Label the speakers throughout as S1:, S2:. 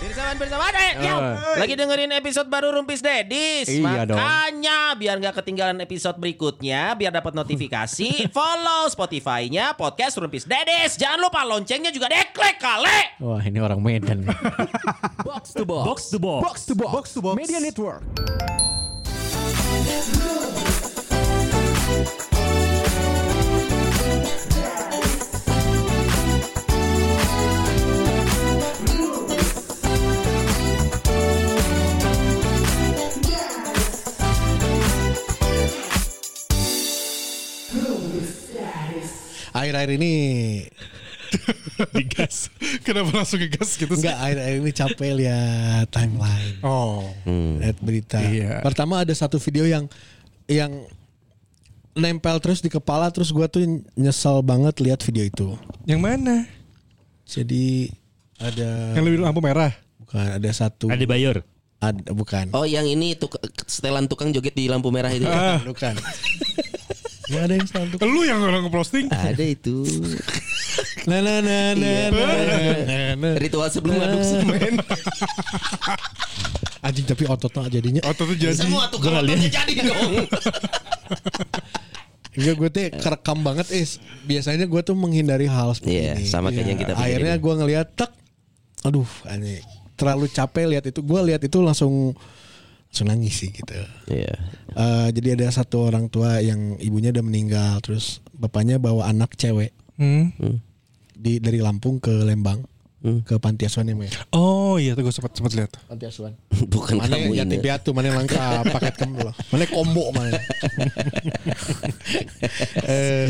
S1: Bersamaan-bersamaan eh, ya.
S2: Eh.
S1: Lagi dengerin episode baru Rumpis Dedis
S2: Iya dong.
S1: Makanya biar nggak ketinggalan episode berikutnya Biar dapat notifikasi Follow Spotify-nya Podcast Rumpis Dedis Jangan lupa loncengnya juga deklek kale
S2: Wah ini orang Medan nih.
S3: Box to box.
S4: Box to box.
S3: Box to box.
S4: Box to box.
S3: Media Network.
S5: akhir-akhir ini
S4: Digas. Kenapa langsung ngegas gitu sih?
S5: enggak akhir-akhir ini capek lihat timeline Hmm.
S4: Oh.
S5: lihat berita
S4: Iya.
S5: pertama ada satu video yang yang nempel terus di kepala terus gua tuh nyesel banget lihat video itu
S4: Yang mana?
S5: jadi ada
S4: Yang lebih lampu merah.
S5: bukan ada satu
S6: Ada Bayor.
S5: ada bukan
S3: Oh yang ini tuk setelan tukang joget di lampu merah itu. ya?
S5: bukan Nggak ada yang selalu
S4: Lu Ah. yang orang ngeposting.
S5: Ah.
S3: Ada itu.
S5: na na na na na na, na.
S3: Iya. Ritual sebelum ngaduk semen.
S5: anjing tapi ototnya jadinya
S4: Otot Oh, tuh jadi.
S3: Semua tukang ototnya jadi dong.
S5: Enggak gue tuh kerekam banget is. Biasanya gue tuh menghindari hal seperti
S3: Iya,
S5: ini.
S3: sama kayak
S5: Iya.
S3: yang kita pikirin.
S5: Akhirnya gue ngeliat tek. Aduh, aneh. Terlalu capek lihat itu. Gue lihat itu langsung langsung nangis sih gitu.
S3: Iya.
S5: Eh, jadi ada satu orang tua yang ibunya udah meninggal, terus bapaknya bawa anak cewek
S4: Hmm.
S5: di dari Lampung ke Lembang
S3: Hmm.
S5: ke panti asuhan ya, Maya.
S4: Oh iya tuh gue sempat sempat lihat.
S5: Panti asuhan.
S3: Bukan
S5: Mana
S3: kamu
S5: yang
S3: ini.
S5: yatim piatu, mana yang lengkap paket kamu loh. Mana combo mana. eh,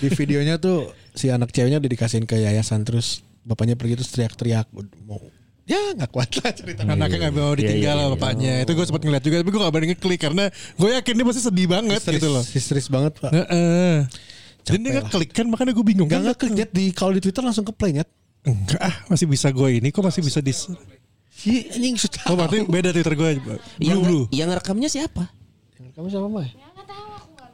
S5: di videonya tuh si anak ceweknya udah dikasihin ke yayasan terus bapaknya pergi terus teriak-teriak mau ya nggak kuat lah cerita.
S4: Anaknya
S5: iya,
S4: nggak mau ditinggal sama bapaknya. Itu gue sempat ngeliat juga, tapi gue nggak berani ngeklik karena gue yakin dia pasti sedih banget gitu loh.
S5: Histeris banget pak.
S4: Heeh. Dan
S5: Capek
S4: dia
S5: lah.
S4: ngeklik kan makanya gue bingung
S5: Gak
S4: kan.
S5: nggak kerja di kalau di Twitter langsung ke play nyet.
S4: Enggak ah, masih bisa gue ini kok masih bisa di
S5: Si anjing sudah.
S4: Oh berarti beda Twitter gue Blue
S3: Yang,
S4: blue
S3: yang rekamnya siapa?
S5: Kamu siapa Mai?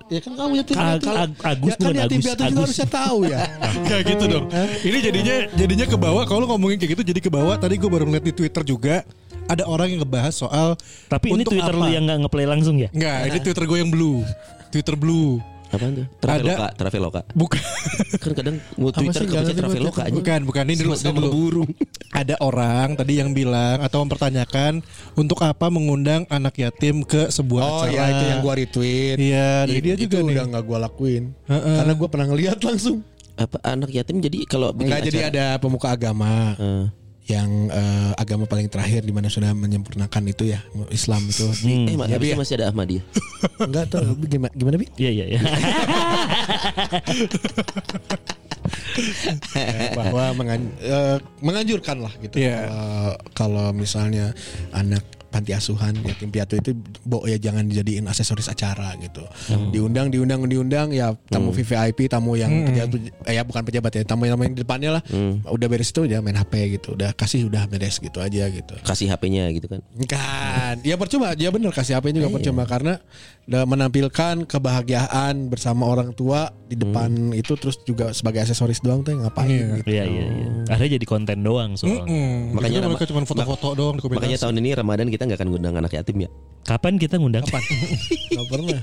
S5: Ya kan kamu yatim
S6: Ag-
S5: piatu.
S6: Ah, Ag- Agus
S5: ya kan
S6: bukan
S5: yatim
S6: Agus,
S5: piatu juga
S6: Agus.
S5: harusnya tahu ya.
S4: Gak gitu dong Ini jadinya jadinya ke bawah Kalau lu ngomongin kayak gitu jadi ke bawah Tadi gue baru ngeliat di Twitter juga Ada orang yang ngebahas soal
S6: Tapi ini
S4: untuk
S6: Twitter lu yang nggak ngeplay langsung ya?
S4: Enggak ini Twitter gue yang blue Twitter blue
S3: Apaan tuh? Traveloka, Traveloka.
S4: Bukan
S3: Kan kadang mau
S5: Apa
S3: Twitter
S5: sih,
S3: kebaca
S5: jangan sih,
S3: Traveloka
S5: buat-
S3: aja.
S4: Bukan bukan Ini dulu,
S3: Sama-sama
S4: dulu. Ada orang tadi yang bilang Atau mempertanyakan Untuk apa mengundang anak yatim ke sebuah
S5: Oh
S4: acara
S5: ya itu yang gua retweet.
S4: Iya, dari
S5: Itu-
S4: dia juga
S5: itu
S4: nih.
S5: udah nggak gua lakuin. Karena gua pernah ngeliat langsung.
S3: Apa anak yatim jadi kalau bikin
S5: Enggak jadi
S3: Iya, acara-
S5: ada pemuka agama yang eh, agama paling terakhir di mana sudah menyempurnakan itu ya Islam itu.
S3: Eh, ma- habis itu masih ada Ahmadiyah.
S5: Enggak tahu gimana gimana bi?
S6: Iya iya iya.
S5: Bahwa mengan- eh, menganjurkan lah gitu.
S4: Iya.
S5: Kalau- Kalau misalnya anak panti asuhan yatim piatu itu bo ya jangan dijadiin aksesoris acara gitu.
S6: Hmm.
S5: Diundang diundang diundang ya tamu VVIP, tamu yang pejabat, eh, ya bukan pejabat ya, tamu-tamu yang di depannya lah.
S6: Hmm.
S5: Udah beres itu ya main HP gitu. Udah kasih udah beres gitu aja gitu.
S3: Kasih HP-nya gitu kan.
S5: Kan, ya percuma, ya bener kasih HP juga percuma karena da- menampilkan kebahagiaan bersama orang tua di depan itu terus juga sebagai aksesoris doang tuh ngapain gitu.
S6: Iya iya iya. Ada jadi konten doang soalnya.
S4: Hmm,
S3: Makanya
S4: makanya
S3: nama-
S4: mereka cuma foto-foto doang di komunitas.
S3: Makanya tahun ini Ramadan kita nggak akan ngundang anak yatim ya.
S6: Kapan kita ngundang?
S5: Gak pernah.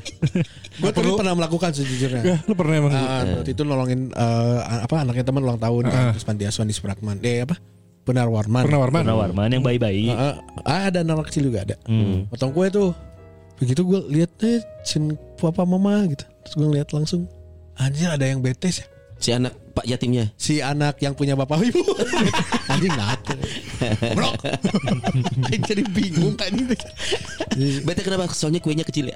S5: Gue tuh pernah melakukan sejujurnya.
S4: Ya, lu pernah emang
S5: Ah, waktu itu nolongin eh, apa anaknya teman ulang tahun kan, terus panti asuhan di Supratman. Eh apa? Benar Warman.
S4: pernah warman?
S6: Pernah Warman yang bayi-bayi.
S5: Ah, ah, ada anak kecil juga ada. Potong kue tuh. Begitu gue lihat eh cin papa mama gitu. Terus gue lihat langsung anjir ada yang betes ya.
S3: si anak Pak Yatimnya.
S5: si anak yang punya bapak ibu anjing nato blok Aing jadi bingung kan
S3: Bete kenapa? Soalnya kuenya kecil ya.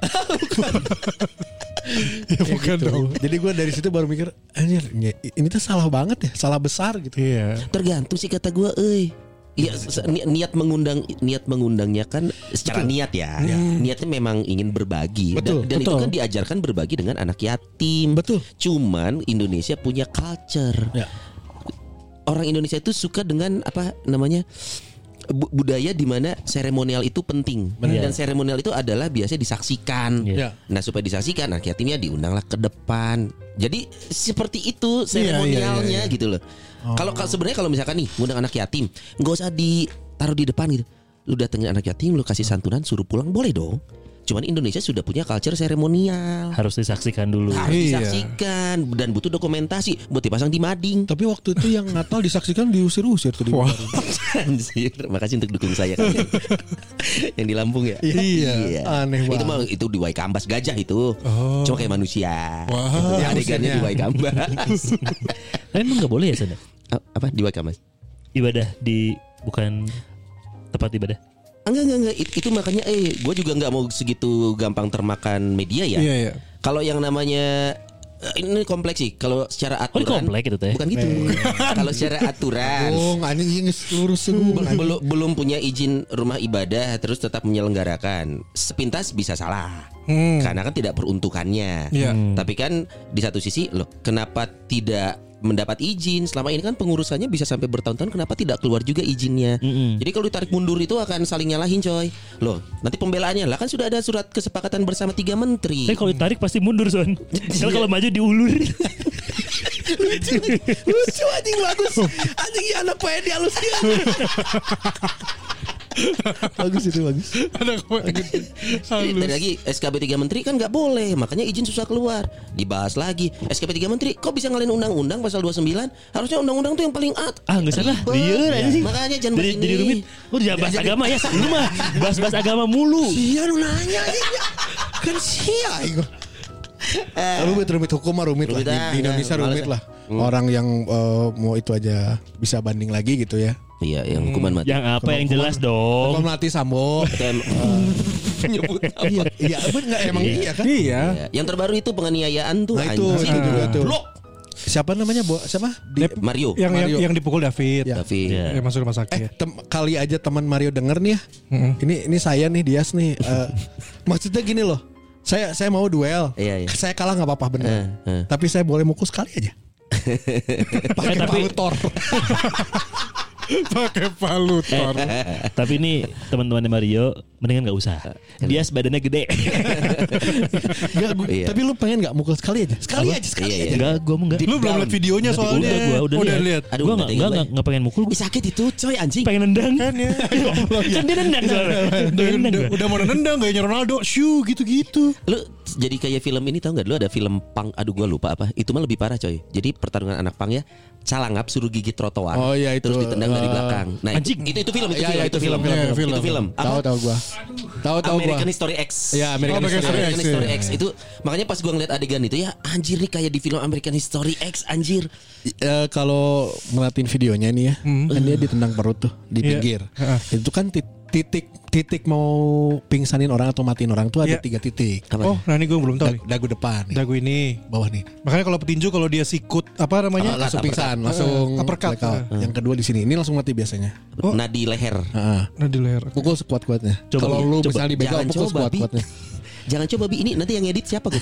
S4: Ya, bukan dong.
S5: gitu. jadi gue dari situ baru mikir anjir ini- ini tuh salah banget ya salah besar gitu
S4: Iya.
S3: Tergantung sih kata gua, euy. Iya, se- ni- niat mengundang niat mengundangnya kan secara niat ya. Niatnya memang ingin berbagi
S5: Iya. Betul,
S3: dan, dan itu
S5: betul.
S3: kan diajarkan berbagi dengan anak yatim.
S5: Betul.
S3: Cuman Indonesia punya culture.
S5: Ya.
S3: Orang Indonesia itu suka dengan apa namanya? bu- budaya di mana seremonial itu penting dan seremonial itu adalah biasanya disaksikan.
S5: ya
S6: Iya.
S3: Nah supaya disaksikan anak yatimnya diundanglah ke depan. Jadi seperti itu seremonialnya
S5: iya, iya, iya.
S3: gitu loh. Kalau kalau sebenarnya kalau misalkan nih ngundang anak yatim, nggak usah ditaruh di depan gitu. Lu datengin anak yatim, lu kasih santunan, suruh pulang boleh dong. Cuman Indonesia sudah punya culture seremonial.
S6: Harus disaksikan dulu.
S3: Nah, Harus
S4: Iya.
S3: disaksikan dan butuh dokumentasi buat dipasang di mading.
S5: tapi waktu itu yang Natal disaksikan diusir-usir tuh di
S4: Wah.
S3: Anjir, makasih untuk dukung saya kali. Yang di Lampung ya.
S5: Iya, aneh
S3: Itu
S5: banget.
S3: mah itu di Waikambas gajah itu.
S4: Oh.
S3: Cuma kayak manusia.
S6: Oh,
S4: Wah,
S3: Itu adegannya di
S5: maksudnya.
S3: Waikambas.
S6: Eh, emang nggak boleh ya sana?
S3: A- Apa di Waikambas?
S6: Ibadah di bukan tempat ibadah.
S3: Enggak enggak enggak It- itu makanya eh gue juga nggak mau segitu gampang termakan media ya.
S4: Iya, iya.
S3: Kalau yang namanya eh, ini kompleks sih. Kalau secara
S6: Oh, di
S3: aturan
S6: komplek itu teh. Iya. Oh.
S3: bukan gitu. Kalau secara aturan
S5: Bung, "Oh, anjing ini lurus tuh Bung, anjing.
S3: belum belum punya izin rumah ibadah terus tetap menyelenggarakan sepintas bisa salah karena kan tidak peruntukannya
S4: Iya.
S3: tapi kan di satu sisi loh kenapa tidak mendapat izin selama ini kan pengurusannya bisa sampai bertahun-tahun kenapa tidak keluar juga izinnya
S6: Mm-mm.
S3: jadi kalau ditarik mundur itu akan saling nyalahin coy loh nanti pembelaannya lah kan sudah ada surat kesepakatan bersama tiga menteri
S6: Tapi kalau ditarik pasti mundur son. Kalau kalau maju diulur.
S3: lucu anjing bagus anjing ya anak payah dihalusin
S5: bagus itu bagus
S4: Ada kue.
S3: Dan
S4: Halus.
S3: Iya, lagi SKB 3 Menteri kan nggak boleh, makanya izin susah keluar. Dibahas lagi SKB 3 Menteri, kok bisa ngalahin undang-undang pasal 29? Harusnya undang-undang tuh yang paling at.
S6: Ah nggak salah.
S3: Ribet.
S6: Liar anjing.
S3: Makanya jangan
S6: Jadi
S3: begini.
S6: jadi rumit. Lu jangan bahas agama ya. Lu mah bahas-bahas agama mulu.
S5: iya lu nanya anjing. kan sia Igo rumit rumit hukum mah rumit,
S3: Eh. Rumit
S5: lah
S3: ah,
S5: di, di Indonesia
S3: enggak,
S5: rumit
S3: males
S5: lah orang yang eh, mau itu aja bisa banding lagi gitu ya
S3: Iya, yang hukuman mati.
S6: Yang apa yang jelas
S5: Kalau
S6: dong.
S5: melatih sambo
S3: Itu em- Nyebut apa?
S5: iya iya emang nggak emang iya kan
S4: Iya.
S3: Ya, Yang terbaru itu penganiayaan tuh
S5: Nah, itu, itu juga tuh.
S3: Blok.
S5: siapa namanya Bo? siapa di, eh,
S4: Dep-
S3: Mario.
S4: Yang, yang
S5: Mario.
S4: yang dipukul David.
S5: Ya.
S3: Tapi
S6: Iya.
S4: Yang masuk rumah
S5: Eh,
S4: sakit.
S5: tem- kali aja teman Mario denger nih ya. Ini ini saya nih Dias nih. Eh, maksudnya gini loh. Saya saya mau duel.
S3: Iya, iya.
S5: Saya kalah nggak apa-apa benar.
S3: Eh, eh.
S5: Tapi saya boleh mukul sekali aja. Pakai
S6: Eh, tapi-
S5: palutor.
S4: Pakai palu Thor.
S6: Tapi ini teman-teman Mario mendingan nggak usah. Dia badannya gede.
S5: Nggak, gua-
S3: Iya.
S5: Tapi lu pengen nggak mukul sekali aja? Sekali aja, sekali
S3: Iya,
S5: aja.
S3: iya.
S6: Enggak, gua mau enggak.
S4: Lu belum lihat videonya soalnya.
S6: Udah gua udah,
S4: lihat.
S3: Aduh,
S6: gua
S3: nggak
S6: nggak
S3: tega
S6: nggak
S3: gua. ya.
S6: nggak pengen mukul.
S3: Ih, sakit itu coy anjing.
S6: pengen nendang kan
S4: Kan ya.
S6: dia nendang soalnya
S4: Udah,
S6: dia nendang
S4: udah-
S6: gua.
S4: udah mau nendang gayanya Ronaldo. Shoo gitu-gitu.
S3: Lu jadi kayak film ini tau nggak? Dulu ada film pang. Aduh gua lupa apa. Itu mah lebih parah coy. Jadi pertarungan anak pang ya. Calangap suruh gigit trotoar.
S5: Oh, iya, itu.
S3: Terus ditendang dari
S5: Ah.
S3: belakang. Nah,
S6: Anjing.
S3: Itu, itu film itu
S5: Iya,
S3: film,
S5: iya,
S3: itu film,
S5: iya,
S3: Itu film.
S5: Tahu
S3: Apa?
S5: tahu gua. Tahu tahu gua.
S3: American History X.
S5: Iya, American
S4: Oh, American
S5: History
S4: History
S5: X.
S3: American
S4: X,
S3: History
S4: iya.
S3: X itu makanya pas gua ngeliat adegan itu ya anjir nih kayak di film American History X anjir.
S5: Eh, kalau ngeliatin videonya nih ya, kan dia ditendang perut tuh di
S4: Hmm. Iya.
S5: pinggir.
S4: Heeh.
S5: Itu kan tit- titik titik mau pingsanin orang atau matiin orang tuh ada
S4: Iya.
S5: tiga titik.
S4: Oh, nah ini gue belum tahu
S5: Dag-
S4: nih.
S5: dagu depan, nih,
S4: Dagu Iya, ini.
S5: bawah nih.
S4: Makanya kalau petinju kalau dia sikut apa namanya?
S5: langsung pingsan, langsung
S4: Eh, uppercut.
S5: blackout. Yang kedua di sini, ini langsung mati biasanya.
S4: Oh.
S3: Nadi Nah, leher.
S5: Heeh.
S4: Nah di leher.
S5: Pukul sekuat-kuatnya.
S6: Coba,
S5: Kalau lu
S6: coba.
S5: misalnya dibegal
S3: Jangan
S5: pukul
S3: coba, Bi.
S5: sekuat-kuatnya.
S3: Jangan coba bi ini nanti yang edit siapa gue?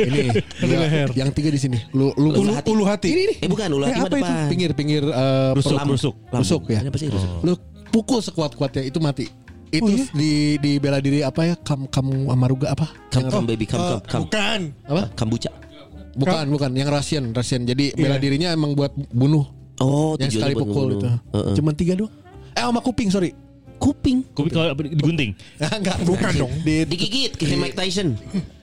S5: ini dua,
S4: leher.
S5: yang tiga di sini. Lu lu
S4: Ulu
S3: hati.
S4: ulu hati.
S5: ini nih.
S3: eh bukan ulah
S5: Eh,
S3: eh,
S5: apa itu?
S3: depan.
S5: Pinggir-pinggir eh,
S6: Rusuk,
S5: perut.
S6: rusuk.
S5: Rusuk ya.
S3: Ini apa sih rusuk?
S5: Lu pukul sekuat-kuatnya itu mati. Itu di di bela diri apa ya? Kam kamu amaruga apa?
S3: Come,
S5: Yang-
S3: come baby, come, come, come.
S4: Bukan.
S5: apa?
S3: Kambuca.
S5: Bukan, bukan. Yang Russian, Russian. Jadi bela
S4: Iya.
S5: dirinya emang buat bunuh.
S3: Oh,
S5: yang
S3: tujuannya
S5: sekali
S3: buat
S5: pukul
S3: ngebunuh.
S5: itu.
S3: Heeh.
S5: Cuman tiga doang. Eh sama kuping, sorry.
S3: kuping.
S6: Kuping kalau digunting.
S5: Enggak, bukan dong. Di,
S3: Digigit
S5: Iya.
S3: kayak Mike Tyson.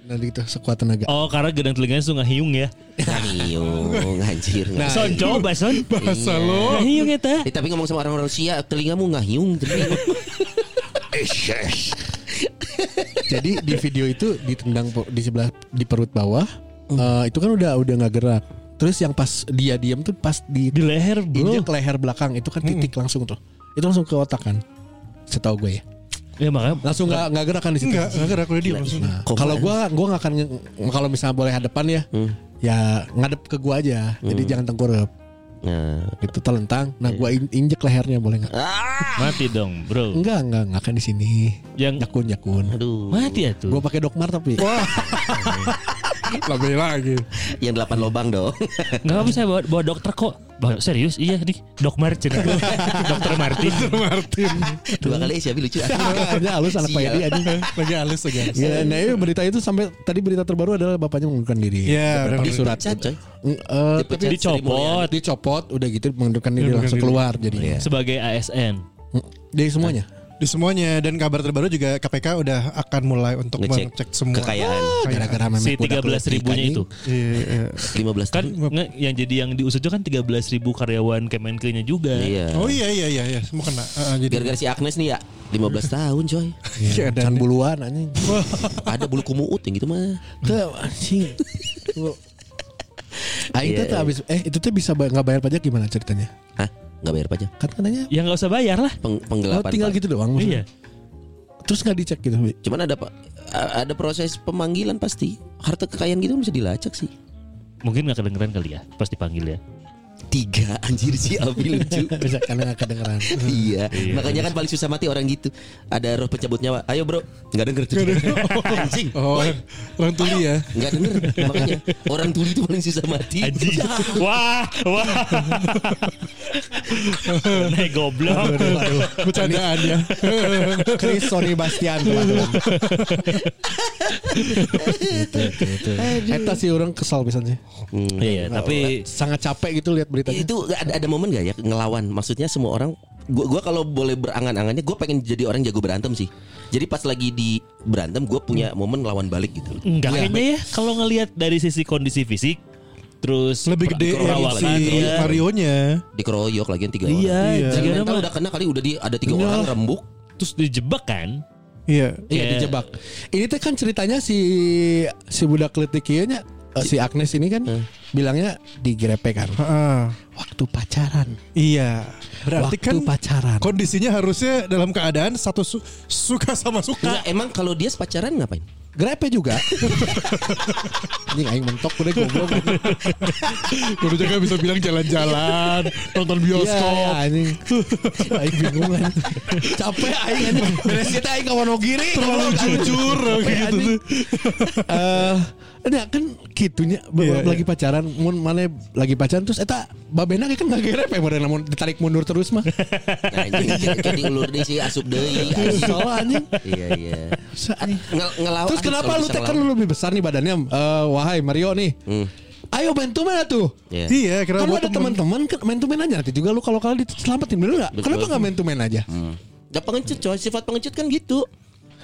S5: nah, gitu sekuat tenaga.
S6: Oh, karena gedang telinganya langsung ngahiung ya.
S5: Nah,
S3: Ngayung, anjir. Nah,
S6: Son coba son.
S4: iya. Bahasa
S3: Iya.
S5: iya.
S4: lo.
S5: Nah,
S6: Ngahiung eta.
S3: Eh, tapi ngomong sama orang-orang Rusia, telingamu ngahiung. telingamu.
S5: Jadi Hmm. di video itu ditendang po- di sebelah di perut bawah. eh, itu kan udah udah nggak gerak. Terus yang pas dia diem tuh pas di,
S6: Di leher
S4: Iya.
S6: bro
S5: injek leher belakang itu kan titik langsung tuh. Itu langsung ke otak kan. Setahu gue ya.
S6: Ya makanya
S5: Langsung nggak nggak gerakan di situ.
S4: Enggak, enggak gerak udah diem langsung.
S5: Nah,
S3: Kok
S5: kalau
S3: kan?
S5: gua gua nggak akan nge- kalau misalnya boleh hadapan ya, ya ngadep ke gua aja. Jadi jangan tengkurap.
S3: Nah,
S5: Itu telentang. Nah, gua in- injek lehernya boleh nggak?
S6: mati dong bro
S5: Enggak, enggak, enggak akan di sini.
S6: Yang
S5: Jakun, jakun.
S4: Nah,
S3: aduh
S6: mati ya
S5: Gua
S6: tuh
S5: pakai dokmar tapi. Lebih lagi.
S3: Yang delapan lobang dong
S6: Gak apa saya bawa, bawa dokter kok Bawa- Serius iya nih Dok Martin Dokter Martin
S4: Martin.
S3: Dua kali siapa lucu
S5: Nah, Aja halus anak
S3: Sial.
S5: Pak Yadi aja.
S4: Lagi halus Iya, lagi halus.
S5: Ya, nah ini berita itu sampai tadi berita terbaru adalah bapaknya mengundurkan diri.
S4: Ya,
S5: Dapat
S4: benar.
S5: di Iya, surat.
S3: Dipecat, coy.
S5: Mm, eh,
S3: Dipecat
S5: tapi
S3: Sri Mulyani.
S6: Dicopot
S5: dicopot udah gitu mengundurkan diri
S4: Mengundurkan
S5: langsung
S4: diri.
S5: keluar
S3: Iya.
S5: jadinya.
S6: Sebagai ASN
S5: Mm, Dari semuanya.
S4: Di semuanya dan kabar terbaru juga KPK udah akan mulai untuk
S3: Ngecek
S4: mengecek semua
S3: Kekayaan
S5: Gara-gara memek
S6: Si
S5: udah
S6: 13
S5: keluar
S6: ribunya
S5: anjing.
S6: itu
S4: Iya.
S3: 15
S6: Kan nge- yang jadi yang diusut itu kan 13 ribu karyawan Kemenkeunya juga
S3: Iya
S4: Oh iya iya iya iya semua kena. Ah, jadi
S3: Gara-gara si Agnes nih ya 15 tahun coy
S5: Iya, dan buluan anjing.
S3: Ada bulu kumuut yang gitu mah
S5: Tuh anjing. Tuh. Aing tuh
S3: Iya, iya.
S5: tuh abis eh itu tuh bisa ba- nggak bayar pajak gimana ceritanya?
S3: Hah? Gak bayar pajak
S5: Kan katanya
S3: Iya,
S6: Ya gak usah bayar lah
S3: Peng-
S5: oh,
S3: Penggelapan
S5: tinggal
S3: Pak.
S5: gitu doang. maksudnya.
S6: Iya
S5: Terus nggak dicek gitu. Bi.
S3: Cuman ada pa- ada proses pemanggilan pasti Harta kekayaan gitu kan bisa dilacak sih
S6: Mungkin gak kedengeran kali ya Pas dipanggil ya
S3: Tiga anjir si Abi lucu
S5: Bisa karena nggak kedengeran.
S3: iya. makanya kan paling susah mati orang gitu. Ada roh pencabut nyawa. Ayo bro, nggak denger tuh. Anjing,
S4: Oh, orang, orang tuli ya.
S3: nggak denger. Makanya orang tuli itu paling susah mati.
S6: Anjing
S4: Iya.
S6: Wah Wah Naik goblok
S4: Bercandaan ya.
S5: Chris Sony Bastian teman-teman. Gitu, gitu. Eta sih orang kesal pisan sih.
S6: Iya tapi
S5: sangat capek gitu lihat beritanya.
S3: Itu ada, ada momen gak ya ngelawan? Maksudnya semua orang gua gua kalau boleh berangan-angannya gua pengen jadi orang jago berantem sih. Jadi pas lagi di berantem gua punya momen ngelawan balik gitu.
S6: Enggak kayaknya ya Kalau ngelihat dari sisi kondisi fisik Terus
S4: Lebih gede ya, yang
S6: perawatan,
S4: si
S6: iya.
S4: Marionya.
S3: Dikeroyok lagi tiga
S6: Iya,
S3: orang.
S4: Iya.
S3: Dan
S6: jika
S3: mental
S6: nama-
S3: udah kena kali udah di ada tiga
S5: Iya.
S3: orang rembuk.
S6: terus dijebak kan?
S4: Iya.
S5: Iya
S6: Kayak-
S5: dijebak. Ini tuh kan ceritanya si si budak kletik ieu nya, eh, si Agnes ini kan bilangnya digrepek kan.
S4: Heeh.
S5: Waktu pacaran.
S4: Iya.
S5: Waktu
S4: Berarti kan
S5: pacaran.
S4: kondisinya harusnya dalam keadaan satu su- suka sama suka.
S3: Enggak, emang kalau dia pacaran ngapain?
S5: Grepe juga. Anjing aing mentok udah goblok.
S4: Kudu juga kan bisa bilang jalan-jalan, nonton
S5: Iya,
S4: bioskop.
S5: anjing. Aing bingung kan. Capek aing anjing. Beres kita aing kawan giri.
S4: Terlalu jujur
S5: Iya.
S4: gitu tuh.
S5: Eh, enggak kan gitunya
S4: Iya,
S5: lagi pacaran, mun mana lagi pacaran terus eta babena kan gak grepe model namun ditarik mundur terus mah.
S3: Nah, jadi, jadi ulur deh sih asup
S5: Iya.
S3: deui. anjing.
S5: Soalnya anjing.
S3: Iya iya.
S5: Sa- anjing.
S3: Ngel- ngelawan
S5: Terus kenapa
S3: kalau
S5: lu
S3: bisa
S5: teh kan
S3: ngelawan.
S5: lu lebih besar nih badannya Eh, Wahai Mario nih Ayo main tuh mana tuh
S3: Iya.
S4: Iya, kira
S5: Kan lu
S4: buat
S5: ada
S4: temen.
S5: teman-teman kan main tuh main aja nanti juga lu kalau kali diselamatin bener gak?
S3: Betul.
S5: Kenapa gak main tuh main aja?
S3: Gak pengecut coy Sifat pengecut kan gitu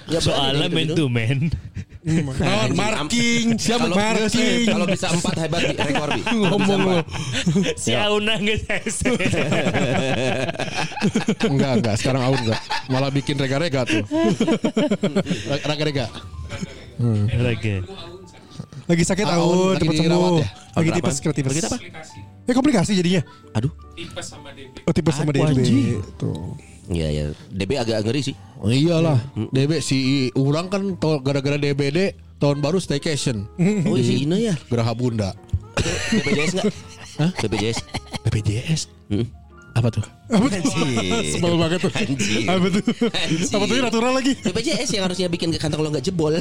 S3: Gak berani gitu
S6: Soalnya
S3: dia
S6: man
S3: gitu-gitu.
S6: to man.
S4: Oh, marking, siapa
S3: Kalau-
S4: marking?
S3: Kalau bisa empat hebat Bi. rekor bi Kalau bisa
S4: Ngomong
S3: empat.
S4: lu.
S6: Si Auna nggak saya.
S5: enggak, enggak. Sekarang Aun enggak. Malah bikin rega-rega tuh. Rega-rega.
S6: Oke.
S4: Lagi sakit
S5: Ah,
S4: tahun,
S5: lagi
S4: cepat sembuh.
S5: dirawat ya?
S4: Lagi
S3: Apa?
S4: tipes, kira tipes.
S3: Sakit apa?
S4: Eh komplikasi jadinya.
S3: Aduh
S4: Oh, tipes sama
S6: Aku
S4: DB.
S6: anjing.
S4: Tuh.
S3: Iya ya DB agak ngeri sih
S5: Oh, iyalah. DB si orang kan to- gara-gara DBD tahun baru staycation.
S3: Oh iya, si Ina ya
S5: Geraha Bunda.
S3: BPJS gak? Hah? BPJS
S5: BPJS.
S3: Hmm. Iya.
S5: Apa tuh?
S4: Apa tuh? Sebel banget tuh.
S3: Anjing.
S4: Apa tuh?
S3: Anjing.
S4: Apa tuh ini natural lagi?
S3: BPJS yang harusnya bikin ke kantong lo gak jebol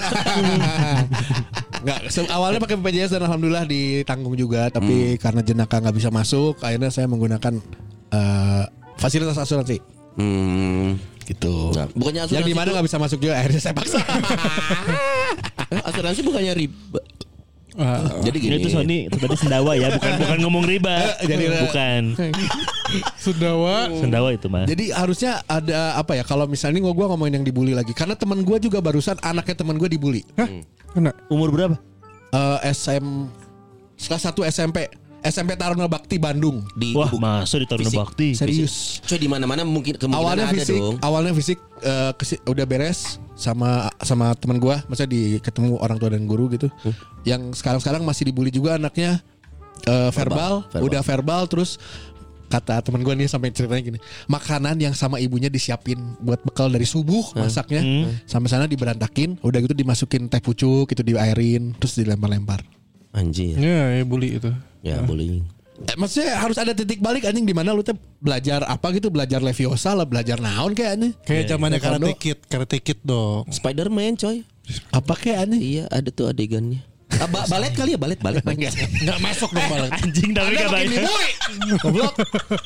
S5: Enggak, se- awalnya pakai BPJS dan alhamdulillah ditanggung juga, tapi karena jenaka nggak bisa masuk, akhirnya saya menggunakan eh, fasilitas asuransi.
S3: Hmm
S5: Gitu.
S3: Nah, bukannya asuransi
S5: Yang di mana nggak bisa masuk juga, akhirnya saya paksa.
S3: Eh, Asuransi bukannya riba
S4: Ah.
S3: Jadi gini
S6: Ini tuh Nah, Sony tadi sendawa ya, bukan bukan ngomong riba.
S5: Jadi,
S6: bukan
S4: Sudawa.
S6: sendawa itu mah.
S5: Jadi harusnya ada apa ya? Kalau misalnya gue gua ngomongin yang dibully lagi, karena teman gue juga barusan anaknya teman gue dibully.
S4: Kena.
S6: Umur berapa?
S5: Eh, SM kelas 1 SMP SMP Taruna Bakti Bandung.
S3: Di
S6: Wah,
S3: tubuh-
S6: masa di Taruna
S3: fisik.
S6: Bakti.
S5: Serius.
S3: Coy di mana mana mungkin kemungkinan
S5: awalnya
S3: ada
S5: fisik,
S3: dong
S5: awalnya fisik eh, kesi- udah beres sama sama teman
S3: Hmm.
S5: gua, masa di ketemu orang tua dan guru gitu. Yang sekarang-sekarang masih dibully juga anaknya eh, verbal,
S3: Verbal.
S5: udah verbal terus kata teman gue nih sampai ceritanya gini makanan yang sama ibunya disiapin buat bekal dari subuh
S3: Hmm.
S5: masaknya sampai sana diberantakin udah gitu dimasukin teh pucuk itu diairin terus dilempar-lempar
S3: Anjir.
S4: Ya, ya bully itu.
S3: Ya bullying.
S5: Eh, maksudnya harus ada titik balik anjing di mana lu tuh belajar apa gitu belajar leviosa lah belajar naon kayak anjing
S4: Kayak zamannya
S5: Taekwondo.
S4: Karate Kid, Karate Kid dong.
S3: Spider-Man coy.
S5: apa kayak anjing
S3: Iya, ada tuh adegannya. Ah, ba- balet kali ya, balet, balet. balet.
S4: Enggak masuk
S3: Eh,
S4: dong malah.
S6: Anjing tapi gak
S5: Makin
S6: baik.
S5: dibuik. goblok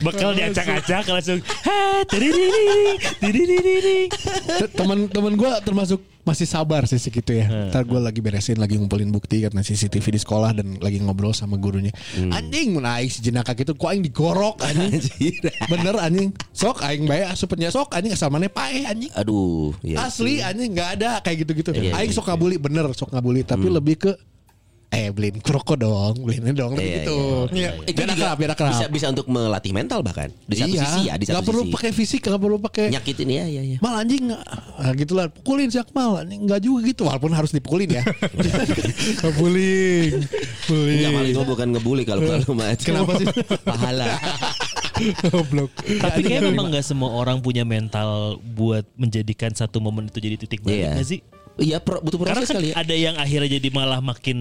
S6: Bekal diacak-acak langsung. Ha, tiririri, tiririri.
S5: teman-teman gue termasuk masih sabar sih segitu ya.
S3: Hmm.
S5: Ntar gue lagi beresin, lagi ngumpulin bukti karena CCTV di sekolah dan lagi ngobrol sama gurunya.
S3: Hmm.
S5: Anjing mun aing si jenaka gitu, ku aing digorok anjing. Bener anjing. Sok aing bae asupennya sok anjing asal mana pae anjing.
S3: Aduh, ya.
S5: Asli anjing nggak ada kayak gitu-gitu.
S3: Iya,
S5: aing
S3: iya, Hmm.
S5: sok ngabuli bener, sok ngabuli tapi lebih ke eh beliin kroko dong, beliinnya dong lebih
S3: Iya,
S5: gitu.
S3: iya,
S5: Iya.
S3: Itu
S5: Biar
S3: juga
S5: akrab, biar akrab.
S3: Bisa bisa untuk melatih mental bahkan. Di satu
S5: Iya,
S3: sisi ya, di satu
S5: nggak perlu
S3: sisi.
S5: pakai fisik, nggak perlu pakai
S3: nyakitin ya, ya, ya.
S5: Mal anjing nah, gitu lah pukulin si Akmal anjing enggak juga gitu walaupun harus dipukulin ya.
S4: Bullying.
S3: Enggak
S4: Bullying.
S3: malah itu bukan ngebully kalau kalau mah.
S5: Kenapa sih?
S3: Pahala.
S4: Goblok.
S6: Tapi kayak memang gak semua orang punya mental buat menjadikan satu momen itu jadi titik balik
S3: Iya.
S6: nggak sih?
S3: Iya, pro- butuh
S6: Karena
S3: proses
S6: kan
S3: kali ya.
S6: ada yang akhirnya jadi malah makin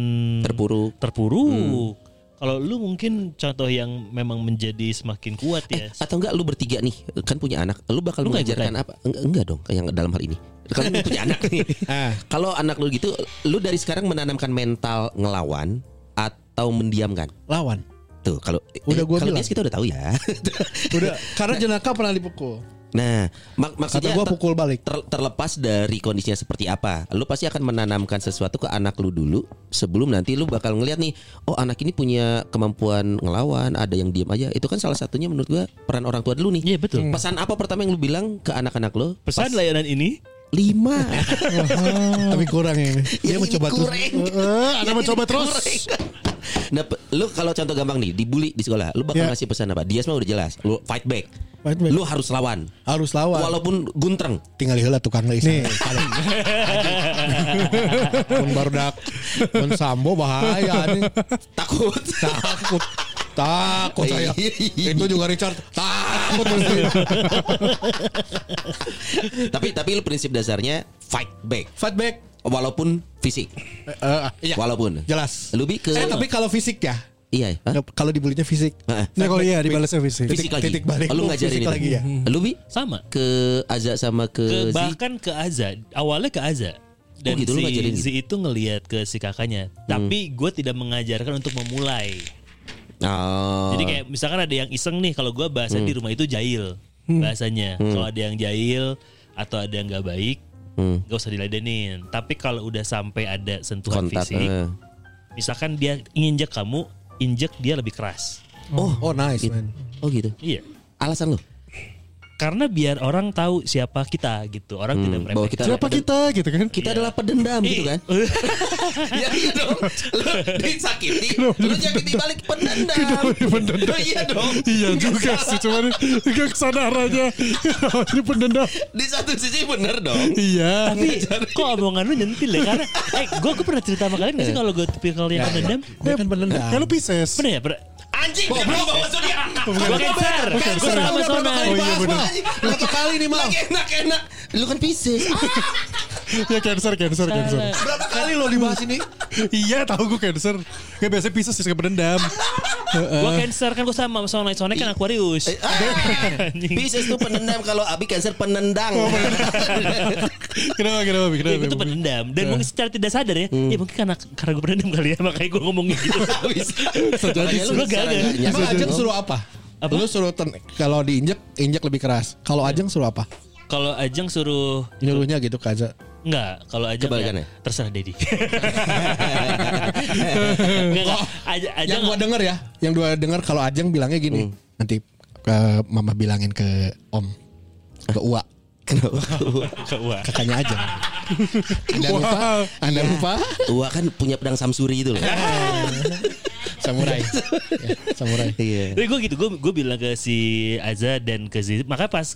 S3: Terpuruk. Hmm.
S6: terpuruk. Kalau lu mungkin contoh yang memang menjadi semakin kuat
S3: Eh,
S6: ya.
S3: atau enggak lu bertiga nih kan punya anak lu bakal
S6: Lu nggak
S3: mengajarkan
S6: ikutan?
S3: apa enggak, enggak dong yang dalam hal ini kalau lu punya anak nih
S5: Ah.
S3: kalau anak lu gitu lu dari sekarang menanamkan mental ngelawan atau mendiamkan
S5: Lawan.
S3: tuh kalau eh,
S5: Udah gua
S3: kalau
S5: bilang.
S3: bias kita udah tahu ya
S5: Udah karena jenaka pernah dipukul.
S3: nah mak-
S5: Kata
S3: maksudnya
S5: gua
S3: ter-
S5: pukul balik.
S3: ter- terlepas dari kondisinya seperti apa lu pasti akan menanamkan sesuatu ke anak lu dulu sebelum nanti lu bakal ngelihat nih oh anak ini punya kemampuan ngelawan ada yang diam aja itu kan salah satunya menurut gua peran orang tua dulu nih Hmm.
S6: Iya betul.
S3: Pesan apa pertama yang lu bilang ke anak-anak lo?
S6: Pesan layanan ini
S3: Lima.
S5: Tapi kurang ya ini.
S3: Ya, ini
S5: Dia mencoba terus.
S3: kurang.
S5: Heeh, Anda
S3: Yang
S5: mencoba
S3: ini
S5: terus.
S3: kurang. Nah, pe- lu kalau contoh gampang nih, dibully di sekolah, lu bakal
S5: Ya.
S3: ngasih pesan apa? Dia semua udah jelas, lu fight back.
S5: Fight back.
S3: Lu harus lawan.
S5: Harus lawan.
S3: Walaupun guntreng.
S5: tinggal heula tukang leuis. Nih, paling. Mun barudak, mun sambo bahaya anjing.
S3: Takut.
S5: Takut. Takut saya.
S3: Iya.
S5: Itu juga Richard. Takut mesti.
S3: tapi tapi lu prinsip dasarnya fight back.
S5: Fight back.
S3: Walaupun fisik.
S5: Eh, eh, iya.
S3: Walaupun.
S5: Jelas.
S3: Lebih ke
S5: Eh, tapi kalau fisik ya.
S3: Iya. Hah?
S5: Kalau dibulinya fisik.
S3: Heeh.
S4: Nah, kalau iya dibalasnya fisik.
S3: Fisik lagi.
S5: titik balik
S3: lu
S5: lu
S3: ngajarin
S5: fisik
S3: itu.
S5: lagi ya.
S3: Lu bi
S6: sama.
S3: ke Aza sama
S6: Ke-
S3: ke, Zi?
S6: bahkan ke Aza. Awalnya ke Aza. Dan
S3: gitu, lu
S6: si,
S3: ngajarin gitu? Hmm.
S6: si itu ngelihat ke si kakaknya. Tapi gue tidak mengajarkan untuk memulai.
S3: Oh.
S6: Jadi kayak misalkan ada yang iseng nih. Kalau gue bahasa
S3: Hmm.
S6: di rumah itu jahil bahasanya. Kalau ada yang jahil atau ada yang nggak baik,
S3: Hmm.
S6: nggak usah diladenin. Tapi kalau udah sampai ada sentuhan
S3: kontak.
S6: fisik,
S3: eh.
S6: misalkan dia injek kamu, injek dia lebih keras.
S5: Oh, oh nice
S3: Gitu.
S5: man.
S3: Oh gitu.
S6: Iya.
S3: Alasan lu?
S6: Karena biar orang tahu siapa kita gitu. Orang tidak iya,
S3: bahwa
S6: meremehkan.
S3: Hmm. kita
S4: Siapa kita gitu kan?
S3: kita
S5: Iya.
S3: adalah pedendam gitu kan? Iya iya dong. Lu disakiti, lu nyakiti balik pendendam. Lu Iya dong.
S4: Iya juga sih, cuman gak kesana arahnya. Ini pendendam.
S3: Di satu sisi bener dong.
S4: Iya.
S6: Tapi kok omongan lu nyentil ya Karena Eh gue gue pernah cerita sama kalian gak sih Kalau gue tipikal yang pendendam
S5: Dia kan pendendam.
S4: Kalau Pisces.
S6: Pernah ya pernah
S3: Anjing, gua bawa zodiak.
S6: Gue cancer Gue
S3: Cancer.
S6: sama
S3: Udah berapa
S6: Sona
S3: kali
S4: Oh, iya
S3: bahas,
S4: bener.
S3: Bang?
S5: Satu kali nih mal.
S3: Lagi enak-enak. Lu kan Pisces. Ah,
S4: Ya cancer, cancer, cancer.
S5: Berapa kali lo dibahas ini?
S4: Iya, tahu gue cancer. Kayak biasanya Pisces suka pendendam.
S6: Gue cancer kan gue sama Sona Sona kan Aquarius
S3: Eh,
S6: Anjing.
S3: Pisces tuh pendendam kalau Abi Cancer Oh, penendang.
S4: Kenapa, kenapa,
S6: Ya,
S4: kenapa?
S6: gue tuh pendendam Dan mungkin secara tidak sadar ya Ya mungkin karena Karena gue pendendam kali ya Makanya gue ngomong gitu
S5: ya
S3: Makanya lu
S6: Lu
S3: secara
S6: gagal.
S3: nggak nyadar.
S5: Emang Ajeng suruh apa?
S6: Apa?
S5: Lu suruh ten- kalau diinjek, injek lebih keras. Kalau Ajeng suruh apa?
S6: Kalau Ajeng suruh
S5: Nyuruhnya gitu ke Aja.
S6: Enggak, kalau Ajeng
S3: Kebalikannya?
S6: ya, terserah Dedi. Enggak, enggak. Aj- Ajeng
S5: Yang gua denger ya, yang gua denger kalau Ajeng bilangnya
S3: Hmm.
S5: gini, nanti eh, mama bilangin ke Om, ke Ua,
S6: Ke Ua.
S5: kakaknya Ajeng. Anda lupa, Anda lupa,
S3: Tua kan punya pedang Samsuri itu loh.
S5: samurai, Ya, samurai.
S3: Iya.
S6: Tapi gue gitu, gue gue bilang ke si Aza dan ke si maka pas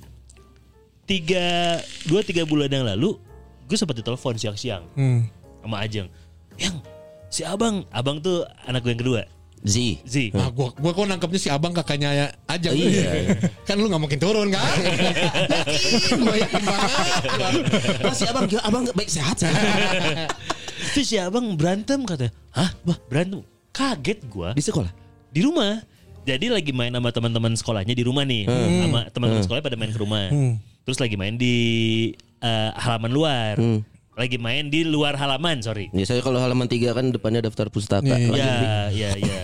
S6: tiga dua tiga bulan yang lalu gue sempat ditelepon siang-siang
S4: Hmm.
S6: sama Ajeng, yang si abang abang tuh anak gue yang kedua
S3: Z.
S6: Z
S5: Nah, gua, gua kok nangkepnya si abang kakaknya ya- aja.
S3: Iya.
S5: kan lu nggak mungkin turun kan? yakin, gua yakin banget.
S3: Pasti abang, gila, abang baik sehat sehat.
S6: terus si abang berantem katanya hah bah berantem kaget gua
S3: Di sekolah.
S6: di rumah. Jadi lagi main sama teman-teman sekolahnya di rumah nih, sama teman-teman sekolah pada main ke rumah. Terus lagi main di eh, halaman luar, lagi main di luar halaman, sorry.
S3: Ya saya kalau halaman tiga kan depannya daftar pustaka. Lanjut, Bi.
S5: Iya,
S6: Ya, ya, ya.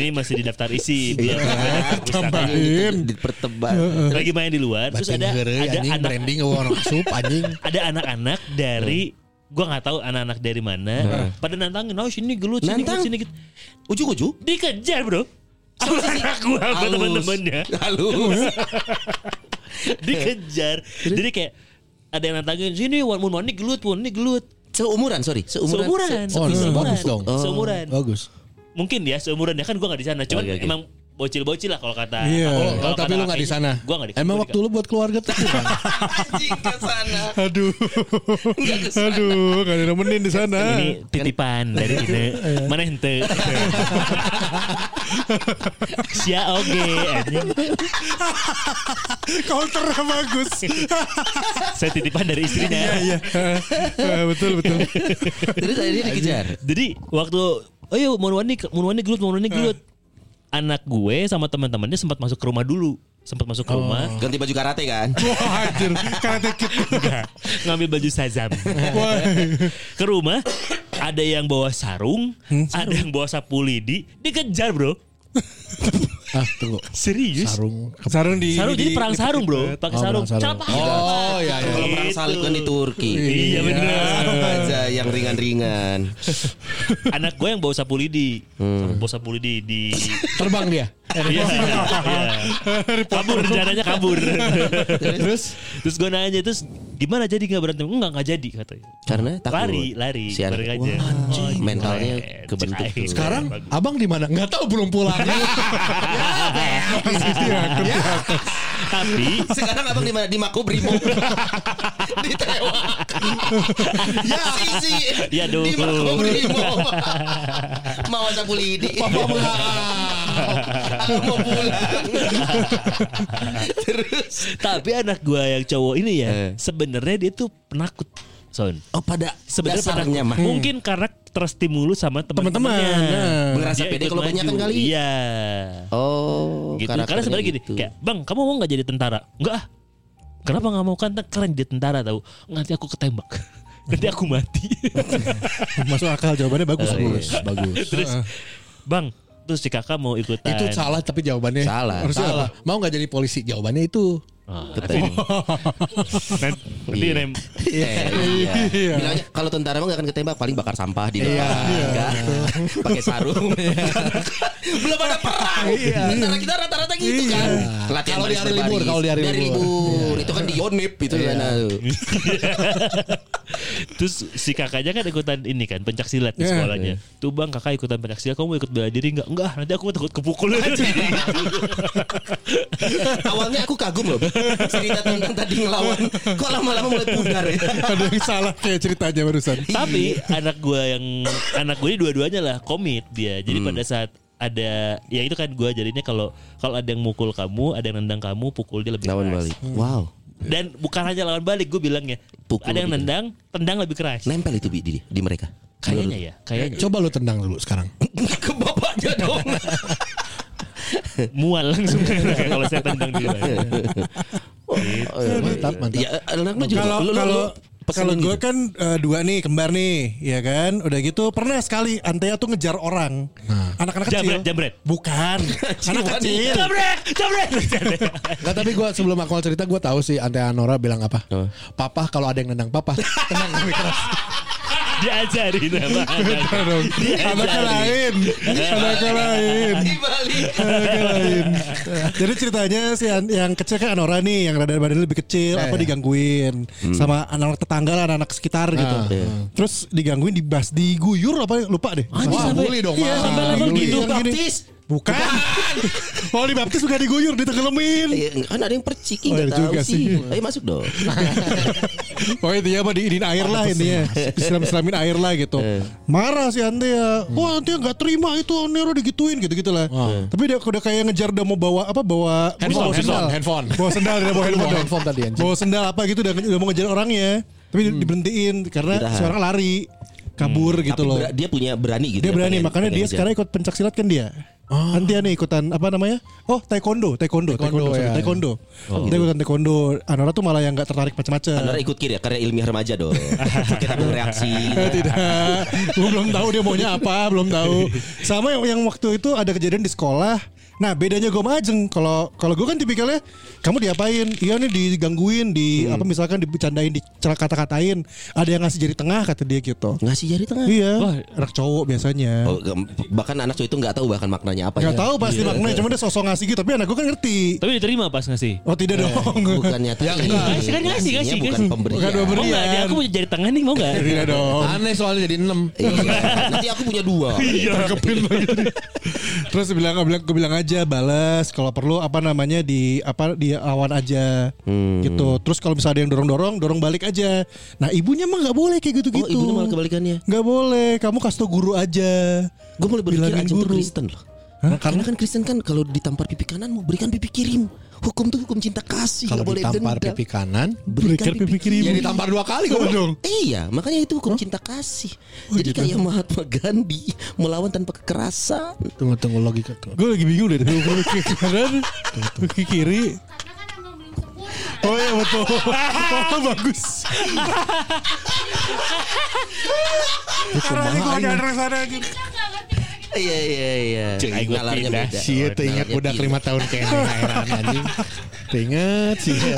S6: Ini masih di daftar
S5: Iya.
S6: isi. belum daftar pustaka.
S4: Tambahin.
S3: Dipertebal.
S6: lagi main di luar, terus ada ada
S5: anjing
S6: anak
S5: branding orang sup anjing.
S6: ada anak-anak
S5: Iya.
S6: dari gua nggak tahu anak-anak dari mana, pada nantangin, oh sini gelut, sini
S3: Nantang?
S6: gelut, sini gelut.
S3: Ujuk-ujuk.
S6: Dikejar bro. Sama anak gua, sama
S3: Halus.
S6: teman-temannya.
S3: Halus.
S6: dikejar. Jadi kayak ada yang nantangin sini wan mun ini gelut pun ini gelut.
S3: Seumuran, sorry. Seumuran.
S6: Seumuran,
S3: Se-
S5: Oh,
S6: seumuran.
S5: bagus dong.
S6: Seumuran.
S5: Bagus.
S6: Mungkin ya seumuran ya kan gua nggak di sana. Cuman
S3: Oke, oke.
S6: emang bocil-bocil lah kalau kata.
S5: iya,
S4: Iya.
S6: kalau-
S5: Oh,
S6: kalau
S5: tapi
S6: kata
S5: lu nggak di
S6: kakaknya,
S5: sana.
S6: Gua nggak di
S5: Emang waktu lu buat keluarga tuh bukan?
S3: Anjing ke sana.
S4: Aduh. Aduh, gak ada yang nemenin di sana.
S5: Iya.
S6: ini titipan dari ini mana ente sia oge anjing.
S4: Counter bagus.
S6: saya titipan dari istrinya
S4: Iya. Eh, betul betul.
S3: Terus akhirnya dikejar.
S6: Jadi waktu oh iya, ayo Monwani Monwani gelut Monwani gelut.
S5: Ah.
S6: Anak gue sama teman-temannya sempat masuk ke rumah dulu. Sempat masuk ke
S5: Oh.
S6: rumah
S3: Ganti baju karate kan?
S4: Wah, anjir. Karate kid.
S6: ngambil baju sazam.
S4: Wah.
S6: ke rumah ada yang bawa sarung,
S5: Hmm?
S6: ada yang bawa sapu lidi, dikejar, Bro.
S5: ah, tunggu.
S6: Serius? Sarung,
S5: Sarung.
S4: Sarung di
S6: jadi perang sarung, Bro.
S5: Iya, Oh,
S6: Pakai sarung.
S5: perang sarung.
S6: Calpak.
S5: Oh, iya iya.
S3: Kalau perang
S6: Gitu.
S3: salib kan di Turki.
S6: Iya bener.
S3: Apa aja yang ringan-ringan.
S6: Anak gue yang bawa sapu lidi.
S5: Hmm.
S6: Bawa sapu lidi di
S5: Terbang dia.
S6: Iya. iya. Kabur rencananya kabur.
S5: Terus
S6: Terus gue nanya terus gimana jadi nggak berantem? Enggak nggak jadi katanya.
S3: Karena takut.
S6: Lari lari.
S3: Si anak.
S6: bareng
S3: Wah, anjing.
S6: Oh,
S3: Mentalnya
S6: keren.
S3: kebentuk
S6: Cai.
S3: tuh.
S5: sekarang abang di mana? Nggak tahu belum pulang.
S6: Iya.
S5: Iya,
S6: tapi
S3: Sekarang abang di mana? Di Makobrimo. Ditewak. ya sisi.
S6: Ya, aduh.
S3: Di Makobrimo. Mau sapu lidi.
S5: Papa mau.
S3: Aku mau pulang. Terus.
S6: tapi anak gua yang cowok ini ya
S3: Eh.
S6: sebenarnya dia tuh penakut son.
S3: Oh pada
S6: Sebenarnya penakut.
S3: dasarnya mah.
S6: Mungkin karena terstimulus sama teman-temannya.
S4: Teman-teman, nah.
S3: Ngerasa
S6: Dia
S3: pede
S6: ikut
S3: kalau
S6: maju.
S3: banyakan kali.
S6: Iya.
S3: Oh,
S6: gitu. Karena sebenarnya gini, kayak, "Bang, kamu mau nggak jadi tentara?" "Enggak ah." Kenapa nggak mau kan keren jadi tentara tahu? Nanti aku ketembak. Nanti aku mati.
S4: Masuk akal jawabannya bagus.
S5: Bagus, bagus.
S6: terus bang terus si kakak mau ikutan
S5: Itu salah tapi jawabannya
S3: Salah.
S5: Harusnya
S3: Salah.
S5: apa? Mau nggak jadi polisi? Jawabannya itu.
S6: Ah,
S3: Ketemu.
S6: nanti nanti
S3: Iya.
S6: nem-
S3: Eh, iya. Bilangnya kalau tentara mah gak akan ketembak paling bakar sampah di
S5: Iya,
S3: depan. Enggak. Pakai sarung. Belum ada perang. Tentara kita rata-rata gitu kan. Latihan
S5: Iya. Kalau di hari
S3: baris-baris.
S5: libur, kalau di hari libur. Iya.
S3: libur. Itu kan di Yonip itu kan. aduh.
S6: terus si kakaknya kan ikutan ini kan pencak silat di
S4: Iya.
S6: sekolahnya tuh bang kakak ikutan pencak silat kamu mau ikut bela diri nggak enggak nanti aku takut kepukul
S3: Awalnya aku kagum loh. Cerita tentang tadi ngelawan. Kok lama-lama mulai pudar ya.
S4: Ada yang salah kayak ceritanya barusan.
S6: tapi anak gua yang anak gue ini dua-duanya lah komit dia jadi
S3: Hmm.
S6: pada saat ada ya itu kan gua jadinya kalau kalau ada yang mukul kamu ada yang nendang kamu pukul dia lebih
S3: Lawan
S6: keras
S3: balik. Wow.
S6: dan bukan hanya lawan balik gue bilangnya
S3: Pukul
S6: ada yang
S3: lebih
S6: nendang tendang lebih keras
S3: Nempel itu Bi, di, di mereka.
S6: kayaknya ya kayaknya
S5: Coba lu tendang dulu sekarang.
S3: Ke bapaknya dong.
S6: mual langsung kalau saya tendang dia.
S5: Gitu. Mantap, mantap.
S3: Ya, anak lu juga.
S4: Iya, Kalau
S3: Lu- lu-
S4: kalau
S3: lu pesenin
S4: kalau gue
S3: gitu.
S4: kan eh, dua nih kembar nih, ya kan. Udah gitu pernah sekali Antea tuh ngejar orang, anak-anak kecil.
S6: Jambret, jambret.
S4: Bukan, anak kecil.
S6: Jambret, jambret.
S5: Nggak, tapi gua sebelum awal cerita gua tahu sih Antea Nora bilang apa. Papa kalau ada yang nendang papa, tenang lebih keras.
S6: Diajarin sama anak.
S4: Anak lain, anak lain.
S3: Di balik.
S4: Agak lain. Jadi ceritanya si an- yang kecil kan Anora nih yang rada badannya lebih kecil apa digangguin sama anak-anak tetangga lah anak-anak sekitar gitu. Terus digangguin di bas diguyur apa lupa deh.
S5: Wah,
S4: Sama-
S5: bully dong,
S4: Iya,
S5: Mas.
S4: sampai level
S5: Bully.
S4: gitu.
S5: Yang gini.
S3: Baptis
S4: Bukan. oh dibaptis juga diguyur, ditengelemin.
S5: Iya.
S3: Eh, kan ada yang percik
S4: Oh,
S3: nggak
S4: ada
S3: tahu
S4: juga
S3: sih.
S4: sih. Gitu
S3: Ayo masuk dong.
S4: Pokoknya intinya apa diinin air lah intinya. Siram-siramin air lah gitu.
S5: Iya.
S4: Marah si Ante ya.
S5: Hmm.
S4: Wah Ante nggak terima itu Nero digituin gitu-gitu
S5: Ah.
S4: lah. Tapi dia udah kayak ngejar udah mau bawa apa bawa
S5: Handphone, handphone,
S4: bawa sendal.
S5: handphone.
S4: Bawa sendal dia bawa handphone.
S5: Bawa
S4: dong.
S5: handphone tadi, anjing. Hmm.
S4: Bawa sendal apa gitu udah, udah mau ngejar orangnya. Tapi diberhentiin karena
S3: Ditahan.
S4: si orang lari kabur gitu
S3: Tapi
S4: loh.
S3: ber- dia punya berani gitu.
S4: Dia
S3: ya,
S4: berani
S3: pengen-
S4: makanya
S3: pengen
S4: dia
S3: ngejar.
S4: sekarang ikut pencak silat kan dia. Nanti aneh ikutan apa namanya? Oh taekwondo, taekwondo, taekwondo,
S5: Taekwondo,
S4: sorry,
S5: ya.
S4: taekwondo. Dia ikutan taekwondo. Anora tuh malah yang nggak
S3: Anda
S4: tertarik macam-macam.
S3: ikut kiri ya karena ilmiah remaja dong. Kita reaksi.
S4: Eh, tidak, gue belum tahu dia maunya apa, belum tahu. Sama yang, yang waktu itu ada kejadian di sekolah. Nah bedanya gue sama Ajeng kalau kalau gue kan tipikalnya kamu diapain? Iya nih digangguin, di apa misalkan dibicarain, dikata-katain. Ada yang ngasih jari tengah kata dia gitu.
S3: Ngasih jari tengah.
S4: Iya, anak cowok biasanya.
S3: Oh, gem- bahkan anak cowok itu nggak tahu bahkan maknanya apa.
S4: Gak
S3: ya.
S4: tahu pasti maknanya cuma dia sosok ngasih gitu tapi anak gue kan ngerti.
S6: Tapi diterima pas nggak sih?
S4: Oh tidak dong.
S3: Iya, Bukannya tadi.
S6: ngasih kan ngasih,
S3: Ngasihnya
S6: ngasih,
S3: iya. Bukan ya.
S6: ngasih.
S3: pemberian.
S4: Ya, Bukan
S6: Mau nggak?
S4: pemberian.
S6: Dia aku punya jari tengah nih mau nggak?
S4: Tidak dong.
S5: Aneh soalnya jadi 6
S3: Iya. Nanti aku punya dua.
S4: Tangkepin lagi. Terus dia bilang, bilang, gue bilang aja balas kalau perlu apa namanya di apa di awan aja
S3: Hmm.
S4: gitu. Terus kalau misalnya ada yang dorong-dorong, dorong balik aja. Nah ibunya mah nggak boleh
S3: Oh,
S4: kayak gitu-gitu.
S3: ibunya malah kebalikannya.
S4: Nggak boleh, kamu kasih tau guru aja.
S3: Gue mulai berpikir
S4: Bilangin
S3: aja tuh
S4: guru.
S3: Kristen loh. Karena kan Kristen kan kalau ditampar pipi kanan mau berikan pipi kirim. Hukum tuh hukum cinta kasih
S5: Kalau
S3: nggak boleh
S5: ditampar
S3: dendam.
S5: pipi kanan
S4: Berikan pipi kiri.
S5: Ya ditampar dua kali gue dong
S3: Iya, makanya itu hukum cinta kasih.
S5: Oh,
S3: Jadi kayak
S5: iya,
S3: Mahatma Gandhi melawan tanpa kekerasan.
S5: Tunggu tunggu logika tunggu.
S4: Gue lagi bingung deh. Pipi kanan, pipi kiri.
S2: Karena kan emang belum sempurna.
S4: Oh iya betul. Oh, bagus. Arahnya gue ada arah sana gitu.
S2: Kita nggak ngerti karena kita
S3: Iya iya iya.
S5: Cek gue
S3: Nalarnya
S5: pindah
S3: beda.
S5: sih Itu ingat
S3: Nalarnya
S5: budak
S3: beda.
S5: 5 tahun kayaknya Heran anjing Ingat sih ya.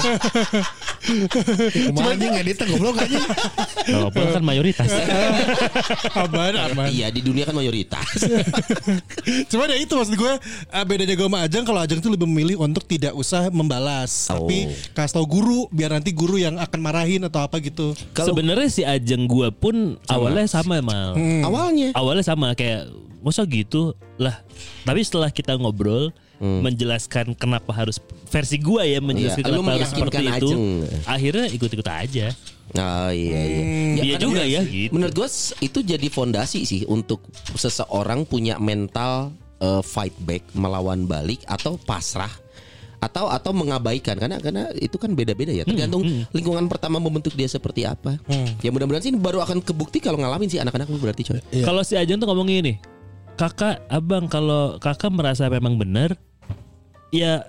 S5: Cuma anjing editnya goblok anjing
S6: Walaupun kan mayoritas.
S4: Apaan aman.
S3: Iya di dunia kan mayoritas.
S4: Cuma ya itu maksud gue eh, bedanya gue sama Ajeng kalau Ajeng tuh lebih memilih untuk tidak usah membalas,
S3: Oh.
S4: tapi kasih tau guru biar nanti guru yang akan marahin atau apa gitu.
S3: Kalau
S6: Sebenarnya si Ajeng gua pun awalnya sama mal.
S3: Hmm. awalnya
S6: Awalnya sama kayak masa gitu lah. Tapi setelah kita ngobrol menjelaskan kenapa harus versi gua ya menjelaskan
S3: Hmm. Iya, lu
S6: kenapa harus seperti
S3: meyakinkan
S6: itu.
S3: Ajeng.
S6: Akhirnya ikut-ikut aja.
S3: Oh iya iya.
S5: Hmm.
S3: Ya,
S6: Iya
S3: karena
S6: juga ya,
S3: sih.
S6: gitu.
S3: Menurut gue s- itu jadi fondasi sih untuk seseorang punya mental eh, fight back melawan balik atau pasrah atau atau mengabaikan karena karena itu kan beda-beda
S6: Hmm,
S3: ya tergantung lingkungan pertama membentuk dia seperti apa. Ya mudah-mudahan sih ini baru akan kebukti kalau ngalamin sih anak-anak lu berarti coy.
S5: Iya.
S6: Kalau si Ajeng tuh ngomong gini, kakak, abang kalau kakak merasa memang benar, ya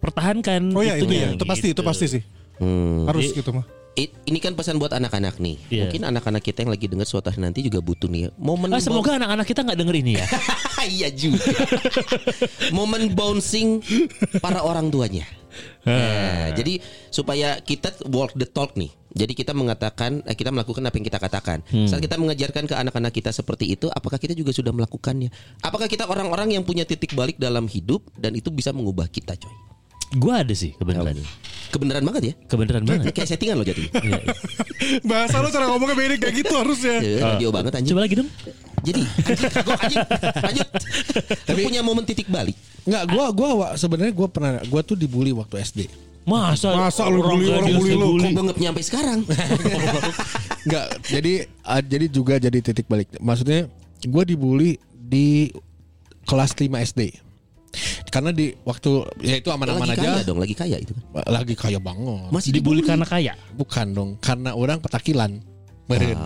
S6: pertahankan.
S4: Oh ya itu ya,
S6: itunya,
S4: itu pasti itu
S6: gitu.
S4: pasti sih.
S3: Hmm.
S4: Harus
S6: Jadi-
S4: gitu mah.
S3: I- ini kan pesan buat anak-anak nih.
S6: Iya.
S3: Mungkin anak-anak kita yang lagi dengar suatu hari nanti juga butuh nih momen
S6: Ah, semoga anak-anak kita nggak denger ini ya.
S3: iya juga. Momen bouncing para orang tuanya.
S6: Ah.
S3: Nah, jadi supaya kita walk the talk nih. Jadi kita mengatakan, eh, kita melakukan apa yang kita katakan.
S6: Hmm.
S3: Saat kita mengajarkan ke anak-anak kita seperti itu, apakah kita juga sudah melakukannya? Apakah kita orang-orang yang punya titik balik dalam hidup dan itu bisa mengubah kita, coy?
S6: Gua ada sih kebenaran.
S4: Ya
S3: Kebenaran banget ya?
S6: Kebenaran
S3: Ini
S6: banget.
S3: Kayak settingan loh jadi.
S6: Iya.
S4: Bahasa lo cara ngomongnya beda kayak gitu harusnya.
S3: Iya, Radio banget anjing.
S6: Ah. Coba lagi dong.
S3: Jadi, anjing, kagok, anjing. lanjut. Tapi punya momen titik balik.
S5: Enggak gue gua, wa- sebenarnya gue pernah Gue tuh dibully waktu SD
S6: Masa,
S4: Masa lu bully orang,
S6: gadis
S4: bully lu?
S3: Kok
S6: dibully?
S3: banget nyampe sekarang?
S5: Enggak jadi ah, Jadi juga jadi titik balik Maksudnya Gue dibully di kelas 5 SD Karena di waktu Ya itu aman-aman
S3: lagi
S5: aja
S3: kaya dong, lagi kaya itu kan.
S5: Lagi kaya banget
S3: Masih
S6: Dibully
S4: kan?
S6: karena kaya.
S5: Bukan dong, karena orang petakilan. Meren.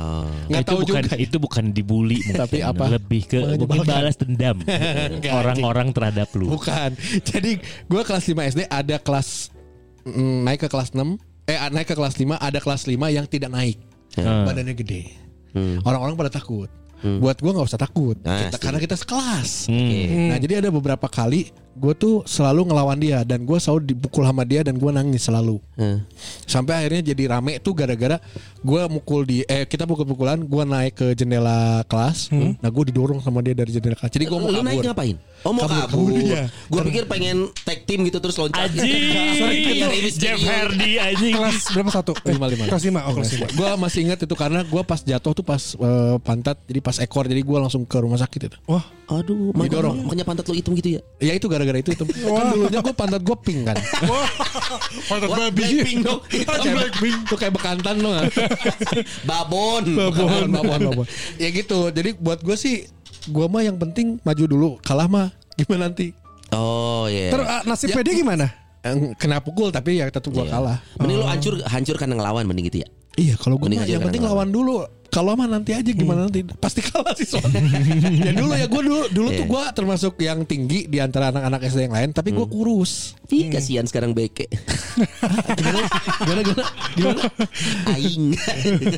S5: Nggak
S6: Ah. itu
S5: tahu
S6: bukan
S5: juga. ya.
S6: itu bukan dibully mungkin.
S5: Tapi apa?
S6: lebih ke
S5: Malah
S6: mungkin
S5: dimakan.
S6: balas dendam
S5: Nggak,
S6: orang-orang terhadap lu
S5: Bukan. Jadi gua kelas 5 SD ada kelas mm, naik ke kelas 6, eh naik ke kelas 5 ada kelas 5 yang tidak naik.
S3: Ya.
S5: Badannya gede. Orang-orang pada takut. Buat gua nggak usah takut
S3: Hmm. Nah,
S5: Kita-
S3: setuju.
S5: karena kita sekelas.
S6: Hmm.
S5: Nah, jadi ada beberapa kali gue tuh selalu ngelawan dia dan gue selalu dipukul sama dia dan gue nangis selalu
S3: Hmm.
S5: sampai akhirnya jadi rame tuh gara-gara gue mukul di eh kita pukul-pukulan gue naik ke jendela kelas nah gue didorong sama dia dari jendela kelas jadi gue mau
S3: Lu naik
S5: kabur
S3: ngapain? Oh mau
S5: Kabur,
S3: kabur.
S5: kabur, iya.
S3: Gue pikir pengen tag team gitu terus loncat.
S6: Aji,
S3: Kayak Rey Mysterio.
S6: Jeff Hardy anjing.
S4: gitu. Kelas berapa satu? Eh,
S5: Lima, lima.
S4: Kelas lima. Oh kelas lima.
S5: gue masih ingat itu karena gue pas jatuh tuh pas eh, pantat jadi pas ekor jadi gue langsung ke rumah sakit itu
S4: Wah.
S3: Aduh,
S5: Didorong.
S3: makanya, makanya pantat lu hitam gitu ya.
S5: ya itu gara-gara itu, itu. kan dulunya gue pantat gue pink kan
S4: Pantat
S3: Wah, Blackpink dong. Hitam.
S5: tuh kayak bekantan kan. lo nggak
S3: Babon.
S5: babon babon babon ya gitu jadi buat gue sih gue mah yang penting maju dulu kalah mah gimana nanti
S3: Oh iya.
S4: Terus ah, nasibnya dia gimana?
S5: Eng, kena pukul tapi ya tetap gue
S3: Iya.
S5: kalah Oh.
S3: Mending lu hancur hancur karena ngelawan mending gitu ya.
S5: Iya kalau gue
S3: Mending
S5: mah
S3: aja
S5: yang
S3: kadang
S5: penting
S3: lawan. Hmm.
S5: lawan dulu kalau mah nanti aja gimana nanti pasti kalah sih soalnya. ya dulu ya gue dulu dulu tuh
S3: Iya.
S5: gue termasuk yang tinggi di antara anak-anak SD yang lain tapi
S3: Hmm.
S5: gue kurus.
S3: Ih, kasihan sekarang beke.
S5: Hmm. Gimana gimana? gimana?
S3: Aing.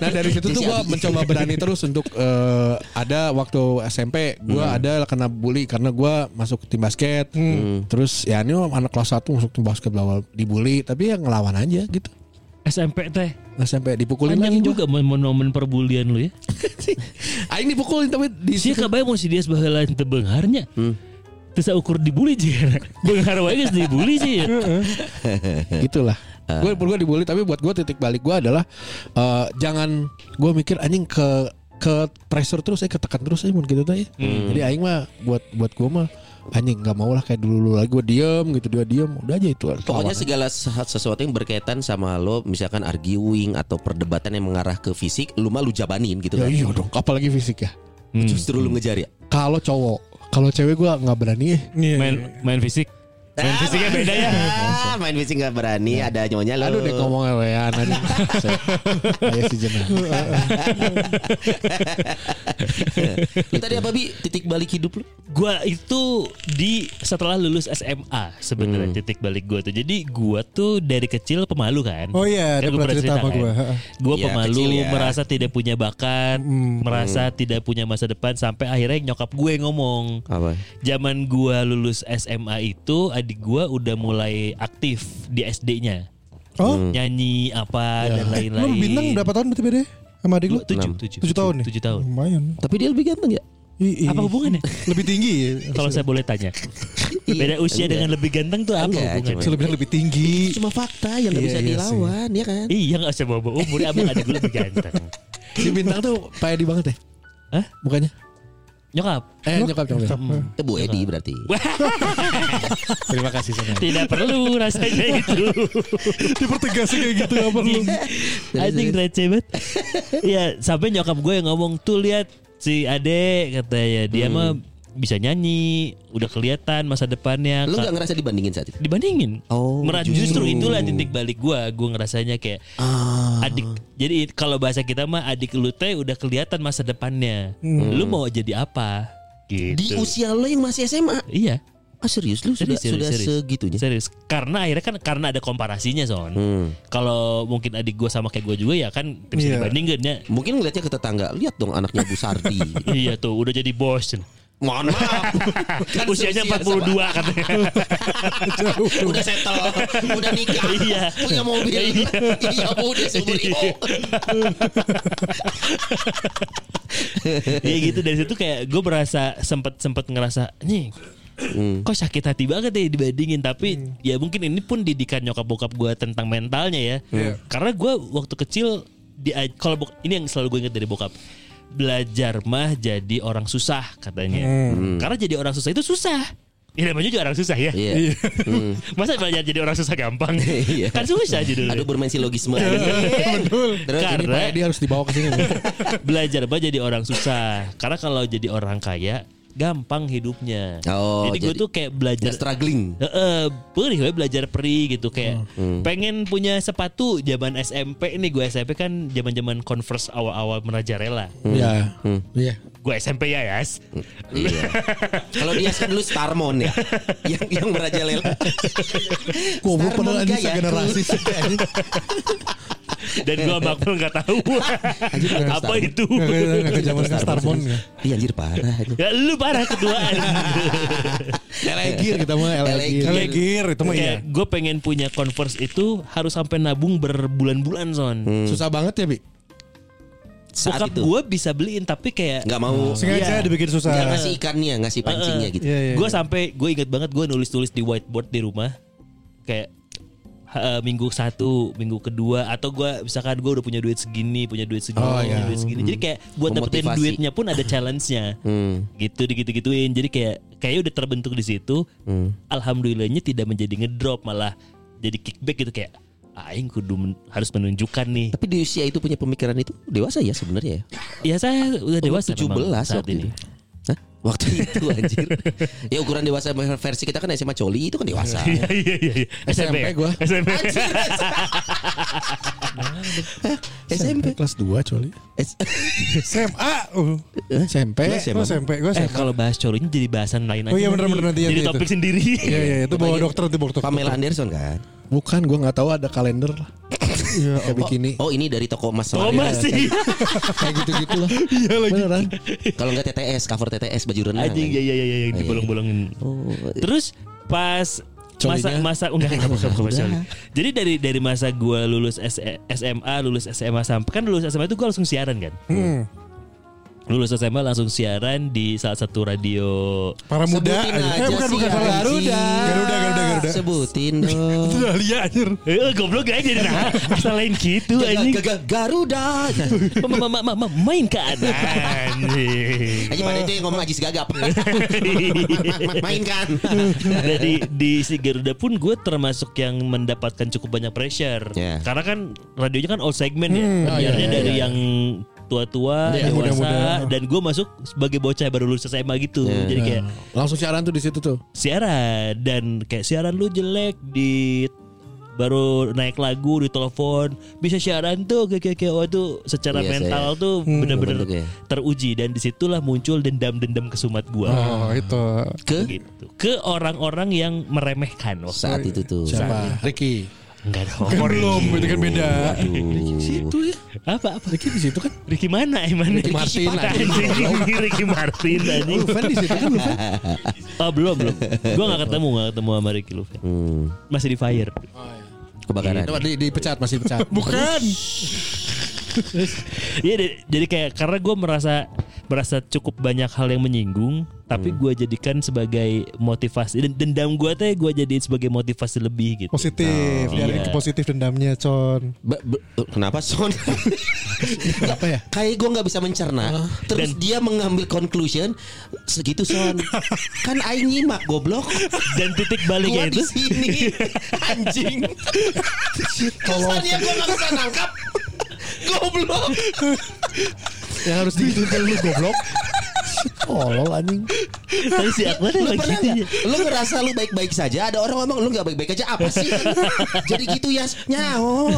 S5: Nah dari situ tuh gue mencoba berani terus untuk eh, ada waktu SMP gue
S3: Hmm.
S5: ada kena bully karena gue masuk tim basket.
S3: Hmm.
S5: Terus ya ini anak kelas 1 masuk tim basket bla dibully tapi ya ngelawan aja gitu.
S6: SMP teh.
S5: SMP dipukulin
S6: Panjang
S5: lagi
S6: juga momen-momen perbulian lu ya.
S5: Aing Ah, dipukulin tapi
S3: Iya,
S5: di
S3: kan?
S6: Sia kabeh mau si dia sebagai lain teu beungharnya.
S4: Hmm.
S6: Terus saya ukur dibully aja. Beunghar wae geus dibully sih ya.
S5: gitulah gue gue dibully tapi buat gue titik balik gue adalah eh, jangan gue mikir anjing ke ke pressure terus eh ketekan terus eh mun gitu tuh ya jadi aing mah buat buat gue mah anjing nggak mau lah kayak dulu dulu lagi gue diem gitu dia diem udah aja itu
S3: Pokoknya segala se- sesuatu yang berkaitan sama lo misalkan arguing atau perdebatan yang mengarah ke fisik, lu mah lu jabanin gitu kan.
S5: ya iya dong apalagi fisik ya
S3: Justru lu ngejar ya.
S5: kalau cowok kalau cewek gue nggak berani eh.
S6: Main main fisik. Main fisiknya beda ya.
S3: Ah, main fisik nggak berani, ada nyonya lo.
S5: aduh deh ngomongnya wean anjing kayak si jenah
S3: Lu tadi apa bi? Titik balik hidup lu?
S6: Gua itu di setelah lulus SMA
S4: Hmm.
S6: sebenarnya titik balik gua tuh. Jadi gua tuh dari kecil pemalu kan.
S4: Oh iya,
S6: Kan
S4: dia
S6: gua
S4: pernah cerita sama
S6: kan.
S4: gue.
S6: Gua
S3: Iya,
S6: pemalu,
S3: kecil ya.
S6: merasa tidak punya bakat,
S4: Hmm.
S6: merasa tidak punya masa depan sampai akhirnya nyokap gue ngomong.
S3: Apa?
S6: Zaman gua lulus SMA itu adik gua udah mulai aktif di SD-nya.
S4: Oh,
S6: Hmm. Nyanyi apa dan
S4: lu
S6: lain-lain.
S4: bintang berapa tahun berarti beda sama adik lu?
S6: Lu tujuh, tujuh,
S4: Tujuh tahun ya? nih.
S6: Tujuh tahun.
S4: Lumayan.
S3: Tapi dia lebih ganteng ya?
S4: I- i-
S6: Apa hubungannya?
S4: Lebih tinggi.
S6: Kalau saya boleh tanya,
S3: Iya.
S6: Iya. beda usia
S3: Enggak.
S6: dengan lebih ganteng tuh apa
S3: Enggak,
S6: hubungannya?
S4: Saya bilang lebih tinggi.
S3: Cuma fakta yang nggak
S4: Iya,
S3: bisa
S4: iya
S3: dilawan, ya kan?
S6: Iya nggak usah bawa bawa umur, abang adik gue lebih ganteng.
S5: si bintang tuh pak edi banget ya
S6: Hah?
S5: bukannya
S6: Nyokap, Hmm.
S5: eh nyokap nyokap
S3: Itu Bu Edi berarti.
S5: terima kasih sana
S6: tidak perlu rasanya itu.
S4: Dipertegas kayak gitu apa lu?
S6: Anjing receh banget. Iya, sampai nyokap gue yang ngomong tuh lihat si Ade katanya dia
S3: Hmm.
S6: mah bisa nyanyi, udah kelihatan masa depannya.
S3: Lu
S6: Ka-
S3: nggak ngerasa dibandingin saat itu?
S6: dibandingin.
S3: Oh,
S6: Merah-
S3: justru.
S6: justru. itulah titik balik gua, gua ngerasanya kayak
S3: Ah.
S6: adik. Jadi kalau bahasa kita mah adik lu teh udah kelihatan masa depannya. Lu mau jadi apa?
S3: Hmm.
S6: Gitu.
S3: Di usia lo yang masih SMA?
S6: Iya.
S3: Ah serius lu sudah
S6: Serius, serius,
S3: sudah
S6: serius.
S3: segitunya? Hmm.
S6: Serius. Karena akhirnya kan karena ada komparasinya son. Kalau mungkin adik gua sama kayak gua juga ya kan bisa
S4: Iya.
S6: dibandingin ya.
S3: Mungkin ngeliatnya ke tetangga, lihat dong anaknya Bu Sardi.
S6: iya tuh udah jadi bos.
S3: Mohon maaf. Kan
S6: Usianya
S3: seusia
S6: 42 katanya.
S3: sama. Udah settle, udah nikah,
S6: Iya.
S3: punya mobil.
S6: Iya.
S3: Iya, Bu, dia seumur hidup.
S6: Iya gitu dari situ kayak gue merasa sempet sempet ngerasa nih
S3: Hmm.
S6: kok sakit hati banget ya dibandingin tapi ya mungkin ini pun didikan nyokap bokap gue tentang mentalnya ya
S3: Iya.
S6: karena gue waktu kecil di kalau bok- ini yang selalu gue ingat dari bokap belajar mah jadi orang susah katanya karena jadi orang susah itu susah ya namanya juga orang susah ya
S3: Iya.
S6: masa belajar jadi orang susah gampang
S3: Iya.
S6: kan susah
S3: Aduh
S6: judulnya
S3: bermain silogisme.
S6: Iya.
S3: Terus ini
S6: Karena-
S5: pak edi harus dibawa ke sini
S6: belajar mah jadi orang susah karena kalau jadi orang kaya gampang hidupnya
S3: Oh,
S6: jadi gue
S3: jadi-
S6: tuh kayak belajar
S3: nggak struggling.
S6: Heeh, perih we belajar peri gitu kayak
S3: Hmm.
S4: Hmm.
S6: pengen punya sepatu zaman
S5: Hmm.
S6: SMP nih gue SMP kan zaman zaman converse awal-awal merajarela
S5: ya iya
S6: gue SMP ya Yas
S3: Iya. Kalau dia kan dulu Starmon ya. yang yang merajalela.
S5: Goblok
S3: Starmon
S5: padahal ini
S3: gaya
S5: segenerasi
S3: cool.
S5: sih anjing.
S6: dan gue sama Akmal nggak tahu apa
S3: Starmon.
S6: itu
S4: Nggak, nggak, nggak, nggak, zaman Starmon ya.
S3: Iya anjir parah itu.
S6: ya lu parah keduaan
S4: Iya.
S5: Elegir kita mah
S3: Elegir.
S5: elegir.
S4: Elegir itu mah iya.
S6: Kayak gue pengen punya Converse itu harus sampai nabung berbulan-bulan son.
S5: Susah banget ya, Bi.
S3: Hmm, Saat
S6: Bokap
S3: itu
S6: gue bisa beliin tapi kayak
S3: Eh, nggak mau
S4: Sengaja
S6: Iya.
S4: dibikin susah.
S3: nggak ngasih ikannya, ngasih pancingnya gitu.
S4: Iya, iya.
S6: gue sampai gue inget banget gue nulis-nulis di whiteboard di rumah kayak ha- eh, minggu satu minggu kedua atau gue misalkan gue udah punya duit segini punya duit segini
S5: Oh,
S6: punya
S5: iya.
S6: duit segini jadi kayak buat dapetin
S3: Memotivasi.
S6: duitnya pun ada challenge-nya
S3: Hmm.
S6: gitu digitu gituin jadi kayak kayak udah terbentuk di situ alhamdulillahnya tidak menjadi ngedrop malah jadi kickback gitu kayak aing kudu men- harus menunjukkan nih
S3: Tapi di usia itu punya pemikiran itu dewasa ya sebenarnya ya.
S6: ya saya udah dewasa
S3: 17
S6: memang saat
S3: waktu
S6: ini
S3: itu. Hah? Waktu itu anjir. ya ukuran dewasa versi kita kan SMA coli itu kan dewasa.
S6: Iya iya iya iya.
S5: SMP gua.
S6: SMP.
S3: SMP.
S5: kelas 2, Coli.
S3: S-
S4: SMA. Uh,
S5: SMP.
S4: gua SMP, gua
S6: Eh
S4: SMA.
S6: kalau bahas corinya jadi bahasan lain aja.
S4: Oh iya,
S6: nanti.
S4: bener-bener nanti,
S6: Jadi
S4: nanti
S6: topik
S4: itu.
S6: sendiri.
S4: Iya iya itu bawa dokter itu bawa dokter.
S3: Pamela Anderson kan.
S5: Bukan, gua nggak tahu ada kalender lah.
S4: Iya,
S5: Kayak bikini.
S3: Oh ini dari toko emas
S6: Oh
S3: Samarinda.
S6: masih.
S5: Kayak gitu-gitu lah. Iya lagi. Beneran.
S3: Kalau nggak TTS cover TTS baju
S4: ah.
S3: renang.
S6: Anjing
S3: kan?
S6: ya ya ya ya yang
S3: iya.
S6: dibolong-bolongin.
S3: Oh,
S4: iya.
S6: Terus pas masa
S5: Colinya.
S6: masa oh, enggak enggak enggak, enggak,
S3: Udah.
S6: sorry. Jadi dari dari masa gua lulus S- SMA, lulus SMA sampai kan lulus SMA itu gua langsung siaran kan.
S4: Hmm.
S6: Lulus SMA langsung siaran di salah satu radio
S4: Para muda.
S3: Sebutin
S4: anjing.
S3: aja
S4: Eh bukan
S3: sih,
S4: bukan salah.
S3: anjing.
S4: Garuda. Garuda Garuda Garuda.
S3: Sebutin dong.
S4: Dahlia anjir.
S6: Eh goblok aja jadi nah asal lain gitu anjing.
S3: Gagal Garuda.
S6: Ma- ma- ma- ma- ma- Main keadaan. anjing.
S3: Aja pada itu yang ngomong Ajis Gagap. Main kan.
S6: Nah, di di si Garuda pun gue termasuk yang mendapatkan cukup banyak pressure.
S3: Ya.
S6: Karena kan radionya kan all segment ya.
S4: Hmm.
S5: Oh,
S6: Penyiarnya
S5: iya, iya,
S6: dari
S5: iya.
S6: yang tua-tua,
S4: Iya,
S6: dewasa,
S4: muda-muda.
S6: dan gue masuk sebagai bocah baru lulus SMA gitu. Jadi kayak
S5: Langsung siaran tuh di situ tuh.
S6: siaran dan kayak siaran lu jelek di baru naik lagu di telepon bisa siaran tuh kayak kayak oh tuh secara
S3: Biasa
S6: mental tuh bener-bener
S3: Bentuknya.
S6: teruji dan disitulah muncul dendam-dendam kesumat gua
S4: Oh itu.
S3: Ke
S6: gitu ke orang-orang yang meremehkan waktu
S3: saat itu tuh.
S5: Siapa? Ricky.
S6: Enggak dong.
S4: Kan belum itu kan beda.
S3: Iya. Aduh.
S6: Apa apa?
S5: Ricky di situ kan.
S6: ya? Ricky mana emang? Ricky
S5: Martin, anjing.
S6: Ricky, Ricky Martin anjing.
S5: Fan di situ kan.
S6: Oh belum belum. Gua nggak ketemu nggak ketemu sama Ricky Luven.
S3: Hmm,
S6: Masih di fire.
S3: kebakaran.
S5: Itu di- dipecat masih dipecat.
S4: Bukan.
S6: Iya di- jadi kayak karena gua merasa merasa cukup banyak hal yang menyinggung, tapi gua jadikan sebagai motivasi Dan- dendam gua teh gua jadiin sebagai motivasi lebih
S4: Oh.
S6: gitu.
S4: Positif.
S3: Oh,
S4: Biarin
S6: iya.
S4: ke positif dendamnya con.
S3: Ba- be- kenapa Son?
S5: Apa ya?
S3: Kayak gue nggak bisa mencerna. Terus dia mengambil conclusion segitu Son. kan aing nyimak goblok.
S6: Dan titik
S3: Gua
S6: baliknya
S3: di
S6: Iya, itu
S3: sini anjing. Kesannya gue nggak bisa nangkap. Goblok.
S5: Yang harus digituin lu goblok. Tolol anjing.
S6: Tapi si Akbar
S3: Lu
S6: emang
S3: pernah
S6: gitu ya.
S3: nggak? Lu ngerasa lu baik-baik saja Ada orang ngomong Lu nggak baik-baik aja Apa sih Jadi gitu ya Nyao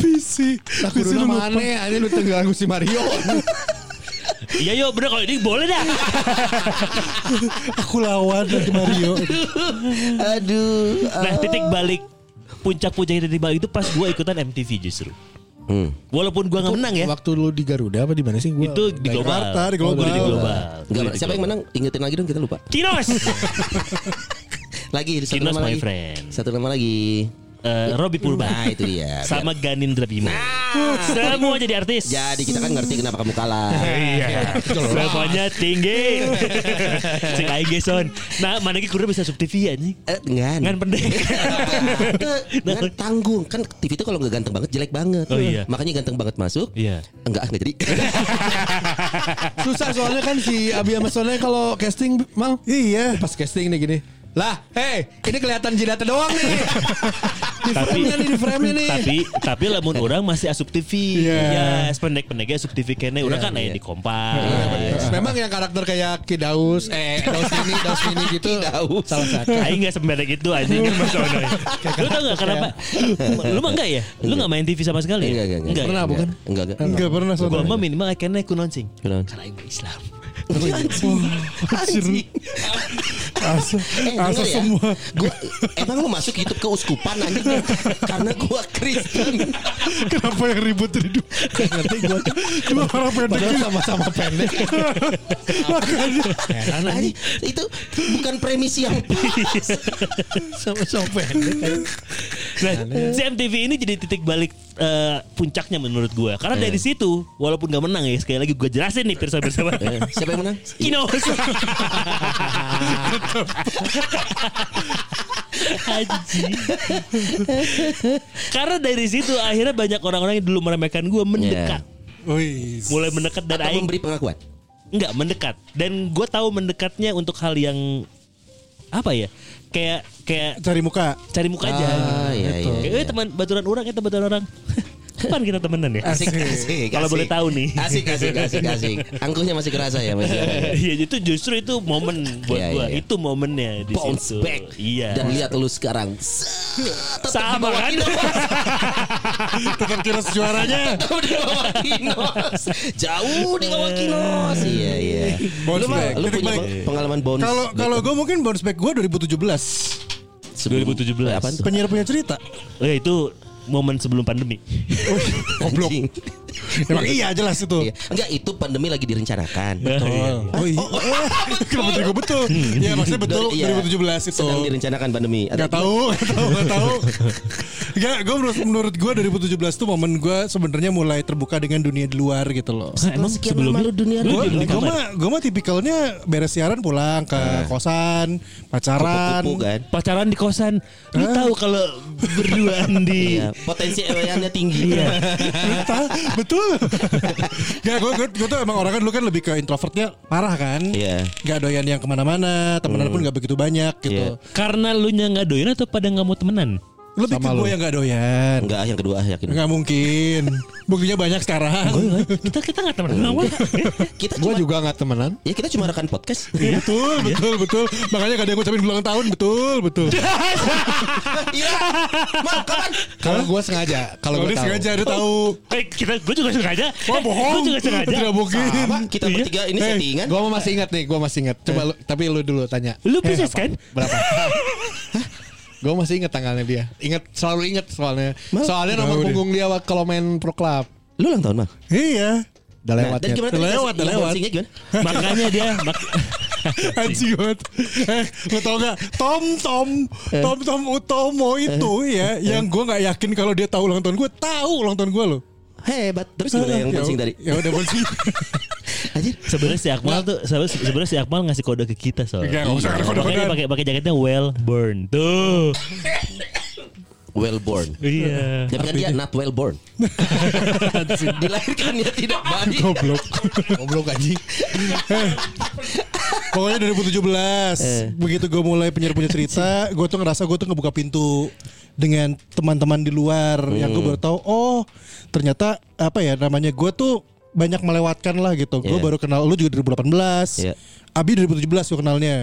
S4: Visi.
S5: Aku
S4: Visi
S5: dulu
S4: lu
S5: mana
S4: lupa.
S5: anjing lu tenggelam si Mario.
S6: Iya yo bener kalau ini boleh dah.
S4: Aku lawan nanti Mario.
S3: Aduh
S6: Nah titik balik puncak-puncak titik balik itu pas gue ikutan MTV justru.
S3: Hmm.
S6: Walaupun gue nggak menang ya.
S5: Waktu lu di Garuda apa di mana sih gua?
S6: Itu di global.
S4: Jakarta, di global.
S6: Gua di global.
S3: Nggak,
S6: Gua di
S3: siapa yang
S6: global.
S3: menang? Ingetin lagi dong kita lupa.
S6: Kinos.
S3: Lagi satu
S6: Kinos
S3: nama
S6: my
S3: lagi.
S6: friend.
S3: Satu nama lagi.
S6: Eh, Robby Purba.
S3: Nah, itu dia. Nah.
S6: Sama Ganindra Bima. Semua jadi artis.
S3: Jadi kita kan ngerti kenapa kamu kalah.
S6: Iya. Teleponnya tinggi. Cek aja Geson. Nah, mana lagi kurang bisa sub TV anjing.
S3: Eh, ngan. Eh,
S6: Ngan pendek.
S3: Ngan tanggung kan TV itu kalau nggak ganteng banget jelek banget.
S6: Oh, iya.
S3: Makanya ganteng banget masuk.
S6: Iya.
S3: Enggak, enggak jadi.
S5: Susah soalnya kan si Abi sama Sonnya kalau casting mal
S4: Iya.
S5: pas casting nih gini. Lah, hei, ini kelihatan jidatnya doang nih. di
S6: tapi
S5: frame-nya nih, di frame-nya nih.
S6: tapi tapi lamun orang masih asup TV
S4: Iya.
S6: ya sependek-pendeknya asup TV kene
S5: Iya,
S6: orang kan aya di kompas
S5: Memang yang karakter kayak Kidaus, eh Daus ini, Daus ini gitu. Kidaus. Salah satu.
S6: Aing gak sempedek itu anjing Mas Ono. Lu tau gak kenapa Lu mah enggak ya
S5: Iya.
S6: Lu gak main TV sama sekali
S3: Enggak,
S6: ya?
S3: enggak, enggak.
S6: ya?
S3: bukan? Enggak, enggak.
S4: Enggak pernah
S6: Gua
S4: soalnya.
S6: mah minimal akhirnya ku launching
S3: Kenapa?
S6: Karena Aing gak Islam
S4: Asa,
S3: Eh,
S4: asa
S3: denger ya.
S4: semua.
S3: Gua emang mau masuk YouTube keuskupan anjing karena gua Kristen.
S4: Kenapa yang ribut jadi dua?
S5: Ngerti gue.
S4: Dua orang pendek.
S5: Padahal sama-sama pendek. Heran
S3: Anjing,
S5: anjing.
S3: itu bukan premis yang
S5: Sama-sama pendek.
S6: ya? Nah, si MTV ini jadi titik balik eh, puncaknya menurut gua
S5: Iya.
S6: Karena dari situ Walaupun gak menang ya Sekali lagi gua jelasin nih Pirsa-pirsa
S5: Iya.
S3: Eh, Siapa yang menang?
S6: Kinos Haji Karena dari situ akhirnya banyak orang-orang yang dulu meremehkan gue mendekat
S4: Wih.
S6: Mulai mendekat dan
S3: Atau
S6: aing
S3: memberi pengakuan.
S6: Enggak mendekat Dan gue tahu mendekatnya untuk hal yang Apa ya Kayak Kayak
S4: Cari muka.
S6: cari muka aja
S3: Ah, iya,
S6: Gitu.
S3: iya,
S6: Kayak, "Eh, teman baturan orang ya baturan orang Kapan kita temenan ya
S3: Asik, asik,
S6: Kalau
S3: asik.
S6: boleh tahu nih.
S3: Asik, asik, asik, asik. Angkuhnya masih kerasa ya, masih. ada.
S6: Iya itu justru itu momen buat
S3: Iya,
S6: gua
S3: iya, iya.
S6: itu momennya di
S3: Bounce
S6: situ.
S3: back.
S6: Iya.
S3: Dan lihat lu sekarang. Set, tetap
S6: Sama
S3: di bawah
S6: kan?
S4: Tekan kiras juaranya.
S3: Tetap di bawah Kinos. Jauh di
S6: Eh.
S3: bawah Kinos. Iya, iya.
S4: Bounce
S3: Lu, mah-
S4: back.
S3: lu
S4: Titik
S3: punya
S4: balik.
S3: pengalaman bounce
S4: Kalau
S3: back
S4: kalau gue mungkin bounce back gue 2017.
S3: sebelum-
S6: 2017.
S3: Apaan tuh?
S4: Penyiar punya cerita.
S6: Eh, itu momen sebelum pandemi.
S4: Goblok.
S3: Anjing.
S4: Emang iya jelas itu.
S3: Iya. Enggak, itu pandemi lagi direncanakan. oh.
S4: Oh, oh iya. Kenapa jadi gue betul? Iya maksudnya betul
S3: Iya.
S4: 2017 itu.
S3: Sedang direncanakan pandemi. Ada-
S4: Gak tahu, gak tahu, gak tahu. Gak, gue menurut, menurut gue 2017 tuh momen gue sebenarnya mulai terbuka dengan dunia di luar gitu loh.
S6: Hah, emang
S3: sekian
S6: sebelumnya
S3: lama lu dunia
S6: lu
S3: lu
S4: Gue
S6: di- di kamar?
S4: mah, gue mah tipikalnya beres siaran pulang ke kosan, pacaran.
S3: Kupu-kupu kan.
S6: pacaran di kosan. Lu tahu kalau berduaan di
S3: Iya, potensi eweannya tinggi.
S4: Betul, betul. Gak, gue, gue, gue tuh emang orang kan dulu kan lebih ke introvertnya parah kan.
S3: Iya. Hmm.
S4: Gak doyan yang kemana-mana, temenan pun gak begitu banyak
S3: Iya.
S4: gitu.
S6: karena lu nya nggak doyan atau pada nggak mau temenan?
S4: Lebih ke gue yang gak doyan.
S3: Enggak, yang kedua yakin.
S4: Gak mungkin. Buktinya
S3: Oh,
S4: banyak sekarang.
S3: iya.
S6: kita kita nggak temenan kenapa?
S3: Kita cuma
S5: Gue juga gak temenan.
S3: ya kita cuma rekan podcast.
S4: betul, betul, betul. Makanya gak ada yang ngucapin ulang tahun, betul, betul.
S3: Iya. Mau kapan?
S5: Kalau gue sengaja. Ya, Kalau
S4: Kalau
S5: gue
S4: dia
S5: tahu.
S4: sengaja dia tahu.
S6: eh, kita gue juga sengaja.
S4: Wah
S6: Eh,
S4: bohong.
S6: Gua juga sengaja.
S4: Tidak mungkin.
S3: Sama, kita bertiga ini settingan.
S5: Gue masih ingat nih, gue masih ingat. Coba lu, tapi lu dulu tanya.
S6: Lu
S5: Eh,
S6: Pisces
S5: apa?
S6: kan?
S5: Berapa? gue masih ingat tanggalnya dia. Ingat selalu ingat soalnya.
S3: Mal?
S5: Soalnya nomor
S4: Tahu deh.
S5: punggung dia waktu kalau main pro club.
S3: Lu ulang tahun, Bang.
S4: Iya.
S5: Udah lewat
S3: dan
S5: ya.
S3: gimana?
S4: Udah
S3: tadi Iya,
S4: lewat, udah
S3: yang
S4: lewat.
S3: bouncing-nya gimana?
S6: Makanya dia mak-
S4: Anjing banget. Eh, lo tau gak? Tom Tom
S5: Eh.
S4: Tom Tom Utomo itu ya, yang gue nggak yakin kalau dia tahu ulang tahun gue, tahu ulang tahun gue loh.
S3: Hebat. Terus gimana yang
S4: Ya-
S3: boncing tadi?
S4: Ya udah boncing.
S3: Anjir.
S6: sebenarnya si Akmal tuh sebenarnya sebenarnya si Akmal ngasih kode ke kita
S4: Enggak,
S6: soalnya.
S4: Ya, nggak usah ada kode-kodean.
S6: Makanya dia pakai pakai jaketnya well burn. Tuh.
S3: Well born.
S6: Iya.
S3: Tapi kan dia not well born. Dilahirkannya tidak baik.
S4: Goblok. Eh,
S5: Goblok anjing.
S4: Pokoknya 2017 Begitu gue mulai penyiar punya cerita Gue tuh ngerasa gue tuh ngebuka pintu Dengan teman-teman di luar Yang gue baru tahu Oh ternyata apa ya namanya Gue tuh banyak melewatkan lah gitu Gue
S3: Iya.
S4: baru kenal lu juga 2018
S3: Iya.
S4: Abi 2017 gue kenalnya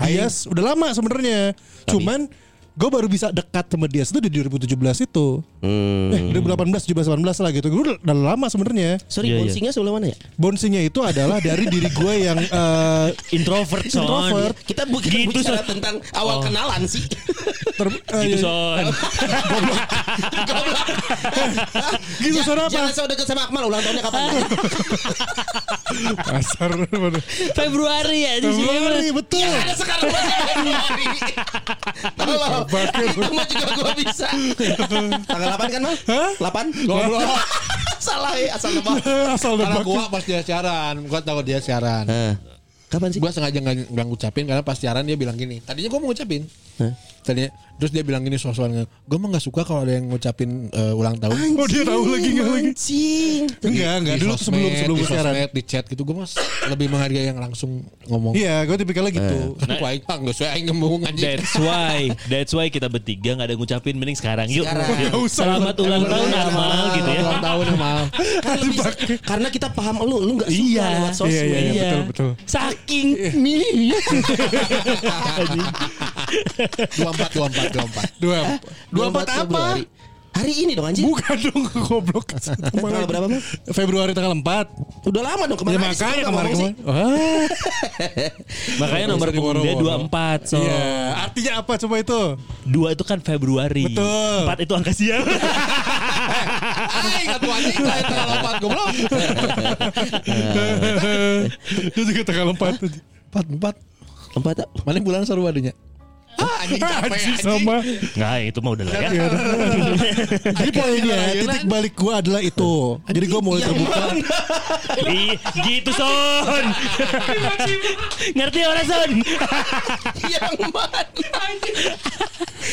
S4: Ayas udah lama sebenarnya Cuman gue baru bisa dekat sama dia itu di 2017 itu Eh 2018, 17, 18 lah gitu Gue udah, udah lama sebenarnya
S3: Sorry,
S6: Iya, iya.
S3: bouncingnya sebelum mana ya?
S4: Bouncingnya itu adalah dari diri gue yang eh,
S6: Introvert son.
S4: Introvert.
S3: Er, Kita bukan
S6: Gitu,
S3: bicara
S6: Son.
S3: tentang awal kenalan sih.
S4: ter, eh,
S3: Iya.
S4: ya-
S6: Gitu son.
S3: Goblok.
S4: Gitu, Son, apa?
S3: Jangan so deket sama Akmal ulang tahunnya kapan?
S4: Kasar
S6: Februari ya di sini.
S4: Februari betul
S3: Ada sekarang masih Februari. Tolong. Itu mah juga gue bisa. Tanggal 8 kan, Mal?
S4: Hah?
S3: 8?
S4: Goblok.
S3: Salah ya, asal nebak.
S4: Asal
S5: Karena
S4: nebak
S5: gue pas dia siaran, gue tahu dia siaran.
S3: Kapan sih?
S5: Gue sengaja nggak nggak ngucapin karena pas siaran dia bilang gini. Tadinya gue mau ngucapin, Tadi terus dia bilang gini soal-soalnya, gue mah nggak suka kalau ada yang ngucapin eh, ulang tahun.
S4: Oh dia tahu lagi nggak lagi? Enggak enggak
S5: Di
S4: dulu
S5: sosmed,
S4: sebelum sebelum
S5: di
S4: sekarang.
S5: sosmed, di chat gitu gue mas lebih menghargai yang langsung ngomong.
S4: Iya, gue tipikalnya gitu.
S5: Nah, Wah, enggak nggak sesuai aing ngomong anjing.
S6: That's why, that's why kita bertiga nggak ada ngucapin mending sekarang yuk.
S3: Sekarang.
S6: Yuk. Selamat ulang tahun Amal gitu ya.
S5: Ulang tahun Amal.
S3: Kan lebih- karena kita paham lu, lu nggak suka
S6: Iya.
S3: lewat sosmed.
S4: Iya, iya, iya, betul, betul. Iya.
S6: Saking
S5: Dua empat, dua empat, dua empat.
S4: Dua dua empat apa?
S3: Februari. Hari ini dong anjing.
S4: Bukan dong goblok.
S3: Tanggal berapa, Bang?
S4: Februari tanggal 4.
S3: Udah lama dong kemarin.
S4: Ya
S3: Aris,
S4: makanya
S3: lu nggak
S4: kemarin
S3: ngomong
S4: kemarin. Wah.
S6: makanya nomor
S4: Bisa diworo-woro.
S6: punggung dia 24 so.
S4: Iya, artinya apa coba itu?
S6: Dua itu kan Februari.
S4: Betul.
S6: Empat itu angka siang.
S5: Ay, nggak ya, tuh anjing lah tanggal empat gue belum.
S4: Itu juga tanggal 4.
S5: Empat empat.
S3: sih. Empat apa?
S5: Mana bulan seru adanya? Ah, anjing capek
S4: ya, Anjing Iya.
S5: anjing.
S4: sama.
S6: Nggak itu mah udah lah ya.
S4: Jadi poinnya titik balik gue adalah itu. Jadi gue
S3: Iya,
S4: mulai terbuka.
S6: Ih, gitu son. Ngerti orang son.
S3: Yang mana?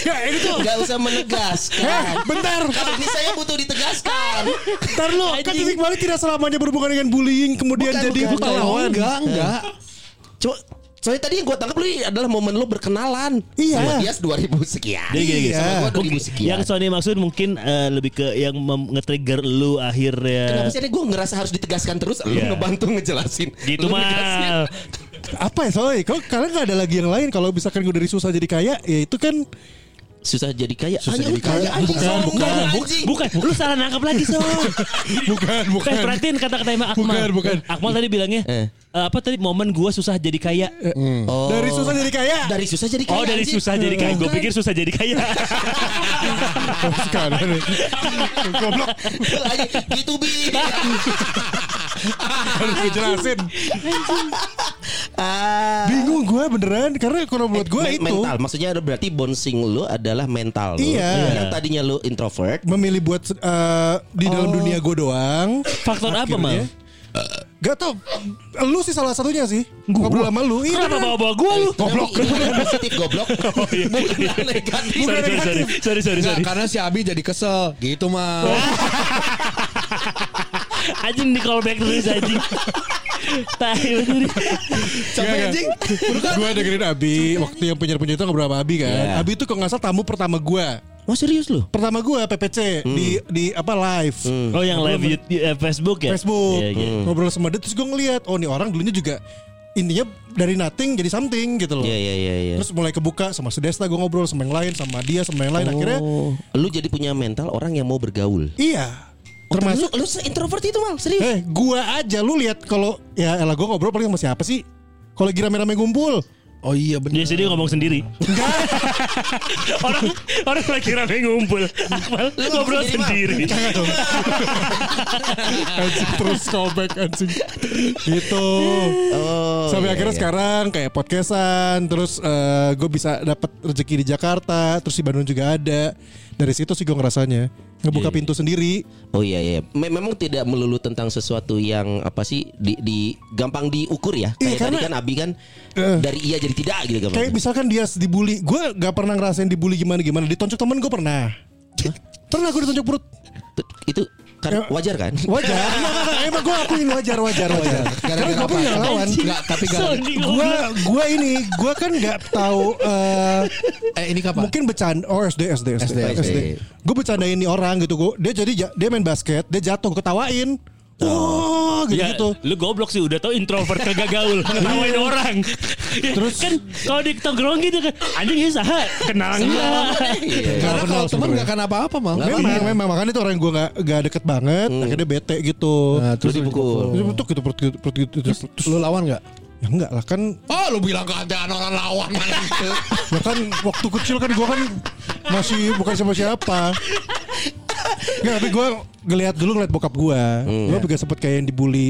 S4: Ya ini tuh.
S3: Gak usah
S4: Eh,
S3: menegaskan.
S4: bentar.
S3: Kalau ini saya butuh ditegaskan.
S4: Bentar lo. Kan titik balik tidak selamanya berhubungan dengan bullying kemudian
S3: Bukan,
S4: jadi Eh,
S3: bukan.
S4: pahlawan.
S5: Enggak, enggak.
S3: Coba Soalnya tadi yang gue tangkap lu adalah momen lu berkenalan.
S4: Iya.
S3: Sama dia 2000 sekian.
S6: Dia gini-gini.
S3: Sama gua 2000
S6: Mungkin-
S3: sekian.
S6: yang Sony maksud mungkin eh, lebih ke yang mem- nge-trigger lu
S3: Kenapa
S6: akhirnya
S3: sih gue ngerasa harus ditegaskan terus Lu
S6: Iya.
S3: ngebantu ngejelasin
S6: gitu
S3: Lu ngegasnya.
S6: mal.
S4: Apa ya soalnya? Kok kalian gak ada lagi yang lain? Kalau misalkan gue dari susah jadi kaya, ya itu kan
S3: Susah jadi kaya
S5: Susah
S3: Hanya
S5: jadi kaya.
S3: kaya anjing
S4: Bukan,
S3: sombong,
S4: bukan,
S3: anjing.
S6: Bukan, lu salah nangkap lagi so.
S4: bukan
S6: Bukan perhatiin kata-kata Akmal.
S4: Bukan, bukan.
S6: Akmal tadi bilangnya
S3: Eh.
S6: eh, apa tadi momen gua susah jadi kaya.
S3: Oh.
S4: Dari susah jadi kaya.
S3: Dari susah jadi kaya
S6: Oh dari
S3: anjing.
S6: susah jadi kaya. Gue pikir susah jadi kaya.
S4: Oh, Sekarang nih. Goblok.
S3: Lagi, Gitu bi
S4: Harus dijelasin.
S3: Ah.
S4: Bingung gue beneran karena kalau menurut gue
S3: Eh, Men-
S4: itu
S3: mental maksudnya ada- berarti bouncing lu adalah mental lu
S4: Iya.
S3: yang tadinya lu introvert
S4: memilih buat eh, di dalam
S3: Oh.
S4: dunia gue doang.
S6: Faktor apa mal?
S4: Akhirnya- Gak tau. Lu sih salah satunya sih.
S6: Gua?
S4: Ngobrol sama lu. Iya.
S6: Kenapa
S4: beneran.
S6: bawa-bawa gue lu?
S3: goblok positif goblok
S6: iya.
S3: bukan negatif
S6: Sorry sorry sorry sorry sorry
S5: Enggak,
S6: sorry.
S5: karena si Abi jadi kesel gitu
S4: Oh.
S5: mah.
S6: Anjing di callback terus anjing. Tai lu tadi.
S4: Iya, kan? Gue dengerin Abi waktu yang penyiar penyiar itu ngobrol sama Abi kan.
S3: Iya.
S4: Abi itu kok nggak salah tamu pertama gue.
S3: oh serius lu
S4: Pertama gue PPC
S3: Hmm.
S4: di di apa live.
S6: Oh yang live di- di eh, Facebook ya?
S4: Facebook
S6: Iya, iya.
S4: ngobrol sama dia terus gue ngeliat oh nih orang dulunya juga intinya dari nothing jadi something gitu loh
S3: Iya iya iya iya.
S4: terus mulai kebuka sama Sedesta gue ngobrol sama yang lain sama dia sama yang lain akhirnya
S3: oh, lu jadi punya mental orang yang mau bergaul
S4: iya
S3: Oh,
S4: termasuk
S3: lu, lu introvert itu mal serius
S4: eh gua aja lu lihat kalau ya elah gue ngobrol paling sama siapa sih kalau lagi rame-rame ngumpul
S5: Oh iya benar.
S6: Dia sendiri ngomong sendiri. orang orang lagi rame ngumpul. Akmal ngobrol
S3: sendiri, Mal.
S6: sendiri.
S4: anjing terus callback anjing gitu
S3: Oh,
S5: Oh,
S3: iya,
S4: sampai
S5: iya,
S4: akhirnya sekarang kayak podcastan terus gue bisa dapat rezeki di Jakarta terus di Bandung juga ada dari situ sih gue ngerasanya ngebuka
S5: Iya,
S4: pintu sendiri
S3: oh iya iya Me- memang tidak melulu tentang sesuatu yang apa sih di, di- gampang diukur ya kayak
S4: Iya,
S3: tadi
S4: karena-
S3: kan Abi kan
S4: Eh.
S3: dari iya jadi tidak gitu gampang
S4: kayak misalkan dia dibully gue gak pernah ngerasain dibully gimana gimana ditonjok temen gue pernah pernah gue ditonjok perut
S3: Tuh, itu kan wajar kan
S4: wajar Enggak, enggak, enggak. emang gue akuin wajar wajar wajar karena
S5: Gara-gara
S4: gue
S5: apa?
S4: pun nggak lawan
S5: Enggak, tapi gara
S6: Sony
S4: gue
S6: ngobrol.
S4: gue ini gue kan nggak tahu eh,
S5: eh ini kapan?
S4: Mungkin bercanda Oh SD SD
S5: SD.
S4: SD, SD. Gue bercandain nih orang gitu gua, Dia jadi ja- dia main basket Dia jatuh ketawain Wah gitu
S6: Ya,
S4: gitu
S6: lu goblok sih udah tau introvert kagak gaul ngetawain orang. Terus kan kalau di tongkrong gitu kan anjing ya saha kenal enggak.
S3: Iya.
S5: Karena kalau Iya.
S4: Nggak kenal
S5: teman
S4: sebenarnya.
S5: enggak akan apa-apa mah.
S4: Memang memang Makanya itu orang gue gak, gak deket banget Akhirnya bete gitu
S5: Nah, terus
S3: dipukul.
S4: Terus bentuk gitu perut gitu, perut gitu. Terus, terus,
S5: Lu lawan enggak?
S4: Ya enggak lah kan
S5: Oh, lu bilang keadaan orang lawan mana gitu.
S4: Ya kan waktu kecil kan gue kan Masih bukan siapa siapa Nggak, tapi gue ngeliat dulu ngeliat bokap gue Gue juga sempet kayak yang dibully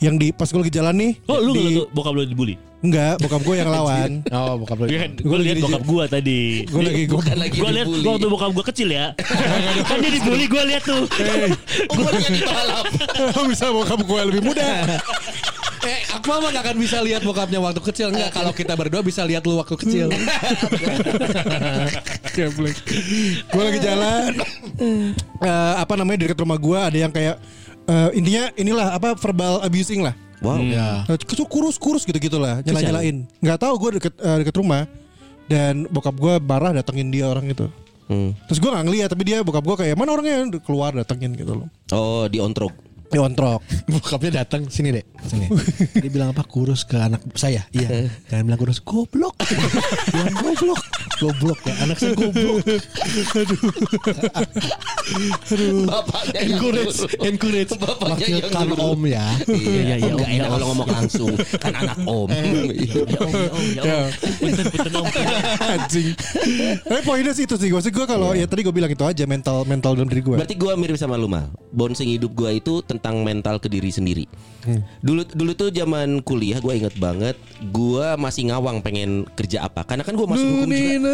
S4: Yang di pas gue lagi jalan nih
S6: Oh lu
S4: di,
S6: nggak tuh bokap lu dibully?
S4: Enggak bokap gue yang lawan
S5: Oh, bokap
S4: Iya.
S5: lu.
S6: Gue lihat
S4: lagi-
S6: bokap gua tadi.
S4: Gue lagi gue
S3: bukan lagi
S6: Gue lihat
S3: dibully.
S6: gua waktu bokap gua kecil ya. kan dia dibully gue lihat tuh.
S3: Umurnya di balap.
S4: bisa bokap gue lebih muda
S5: eh, Akmal mah gak akan bisa lihat bokapnya waktu kecil. Enggak,
S4: Iya.
S5: kalau kita berdua bisa lihat lu waktu kecil.
S4: Geblek. gue lagi jalan. Eh, apa namanya dekat rumah gue ada yang kayak eh, intinya inilah apa verbal abusing lah.
S3: Wow.
S5: ya.
S4: Eh, Kecil kurus-kurus gitu-gitu lah, nyela-nyelain. Nggak tahu gue deket eh, deket rumah dan bokap gue marah datengin dia orang itu.
S3: Hmm.
S4: Terus gue nggak ngeliat tapi dia bokap gue kayak mana orangnya keluar datengin gitu loh.
S3: Oh, diontrok.
S4: Diontrok.
S5: Bokapnya datang sini dek, sini. Dia bilang apa kurus ke anak saya? Iya. Jangan bilang kurus, goblok. Bilang goblok, goblok ya anak saya goblok.
S3: Bapaknya
S5: Encourage, encourage.
S3: Bapaknya yang
S5: Wakilkan
S3: dulu.
S5: om ya.
S3: Iya,
S6: Iya, iya,
S3: Enggak
S6: om,
S3: enak
S6: iya,
S3: kalau
S6: om.
S3: ngomong langsung kan anak om. Iya,
S6: Ya om, ya om, ya om. Punten, punten, om.
S4: Anjing. Tapi poinnya sih itu sih gue sih gue kalau
S5: Iya.
S4: ya tadi gue bilang itu aja mental mental dalam diri gue.
S3: Berarti gua mirip sama lu mal. Bouncing hidup gua itu tentang mental ke diri sendiri.
S6: Hmm.
S3: Dulu dulu tuh zaman kuliah gua inget banget, gua masih ngawang pengen kerja apa. Karena kan gua masuk hukum juga.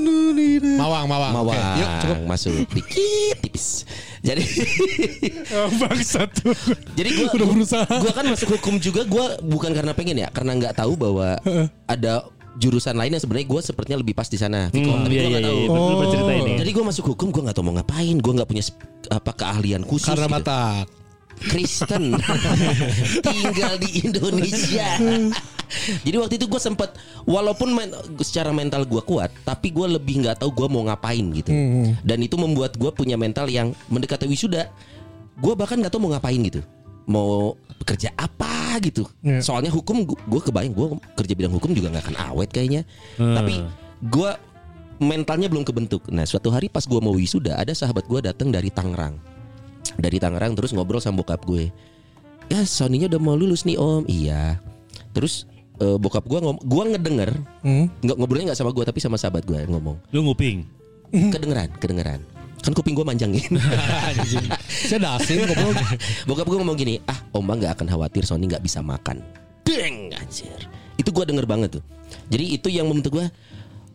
S5: Mawang, mawang.
S3: Mawang
S5: Oke, yuk, cukup.
S3: masuk dikit tipis. Jadi
S5: Oh,
S4: Bangsat
S3: jadi gua
S4: Udah berusaha.
S3: Gua kan masuk hukum juga gua bukan karena pengen ya, karena nggak tahu bahwa ada jurusan lain yang sebenarnya gua sepertinya lebih pas di sana. Viko.
S6: Hmm,
S3: tapi
S6: Iya,
S3: gua
S6: iya,
S3: nggak
S6: iya.
S3: tahu.
S6: Betul, betul cerita ini.
S3: Jadi gua masuk hukum gua nggak tahu mau ngapain, gua nggak punya sp- apa keahlian khusus.
S5: Karena
S3: gitu.
S5: Batak.
S3: Kristen tinggal di Indonesia. Jadi waktu itu gue sempet walaupun men- secara mental gue kuat, tapi gue lebih nggak tahu gue mau ngapain gitu. Dan itu membuat gue punya mental yang mendekati wisuda. Gue bahkan nggak tahu mau ngapain gitu. Mau kerja apa gitu.
S4: Iya.
S3: Soalnya hukum gue kebayang gue kerja bidang hukum juga nggak akan awet kayaknya. Tapi gue mentalnya belum kebentuk. Nah suatu hari pas gue mau wisuda ada sahabat gue datang dari Tangerang dari Tangerang terus ngobrol sama bokap gue ya Sony-nya udah mau lulus nih om iya terus eh, bokap gue ngom gue ngedenger
S4: Hmm?
S3: nggak ngobrolnya nggak sama gue tapi sama sahabat gue yang ngomong
S6: Lu nguping.
S3: kedengeran kedengeran kan kuping gue manjangin
S5: Saya dasin goblok.
S3: bokap gue ngomong gini ah oma nggak akan khawatir Sony nggak bisa makan deng anjir itu gue denger banget tuh jadi itu yang membentuk gue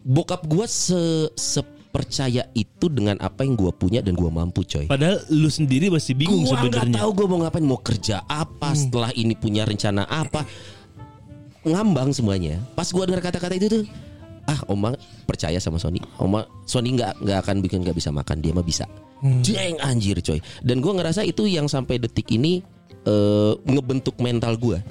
S3: bokap gue se sepercaya itu dengan apa yang gue punya dan gue mampu coy
S6: Padahal lu sendiri masih bingung
S3: gua nggak
S6: sebenarnya.
S3: tahu gue mau ngapain mau kerja apa setelah ini punya rencana apa ngambang semuanya pas gue dengar kata-kata itu tuh ah oma percaya sama Sony oma Sony nggak nggak akan bikin nggak bisa makan dia mah bisa jeng anjir coy dan gue ngerasa itu yang sampai detik ini eh, ngebentuk mental gue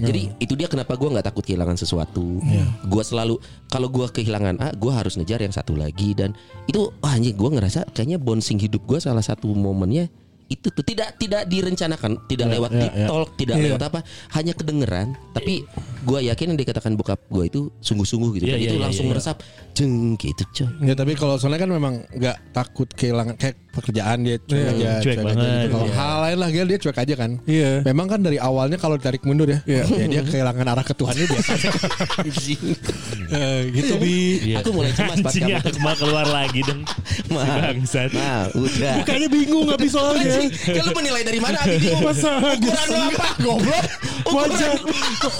S3: jadi itu dia kenapa gue nggak takut kehilangan sesuatu gue selalu kalau gue kehilangan A gue harus ngejar yang satu lagi dan itu wah anjing gue ngerasa kayaknya bouncing hidup gue salah satu momennya itu tuh tidak tidak direncanakan tidak lewat TikTok tidak lewat apa hanya kedengeran tapi gua yakin yang dikatakan bokap gua itu sungguh-sungguh gitu
S6: Iya,
S3: Dan
S6: iya,
S3: itu
S6: iya,
S3: langsung
S6: iya.
S3: meresap jeng gitu coy
S5: Ya tapi kalau soalnya kan memang nggak takut kehilangan kayak pekerjaan dia cuek aja,
S6: Cuek banget,
S5: gitu. Kalau
S6: iya.
S5: hal lain lah dia dia cuek aja kan.
S4: Iya.
S5: Memang kan dari awalnya kalau ditarik mundur ya, ya dia kehilangan arah ke Tuhan itu biasa.
S4: gitu bi.
S6: Iya.
S3: aku mulai cemas pas
S6: Anjingnya
S3: kamu
S6: Akmal keluar lagi dong.
S3: Ma.
S6: Si bangsat.
S3: nah udah
S4: Kayaknya bingung habis soalnya.
S3: Anjing, ya lu menilai dari mana Abi?
S4: Masa gue
S3: Ukuran lu apa goblok
S4: wajah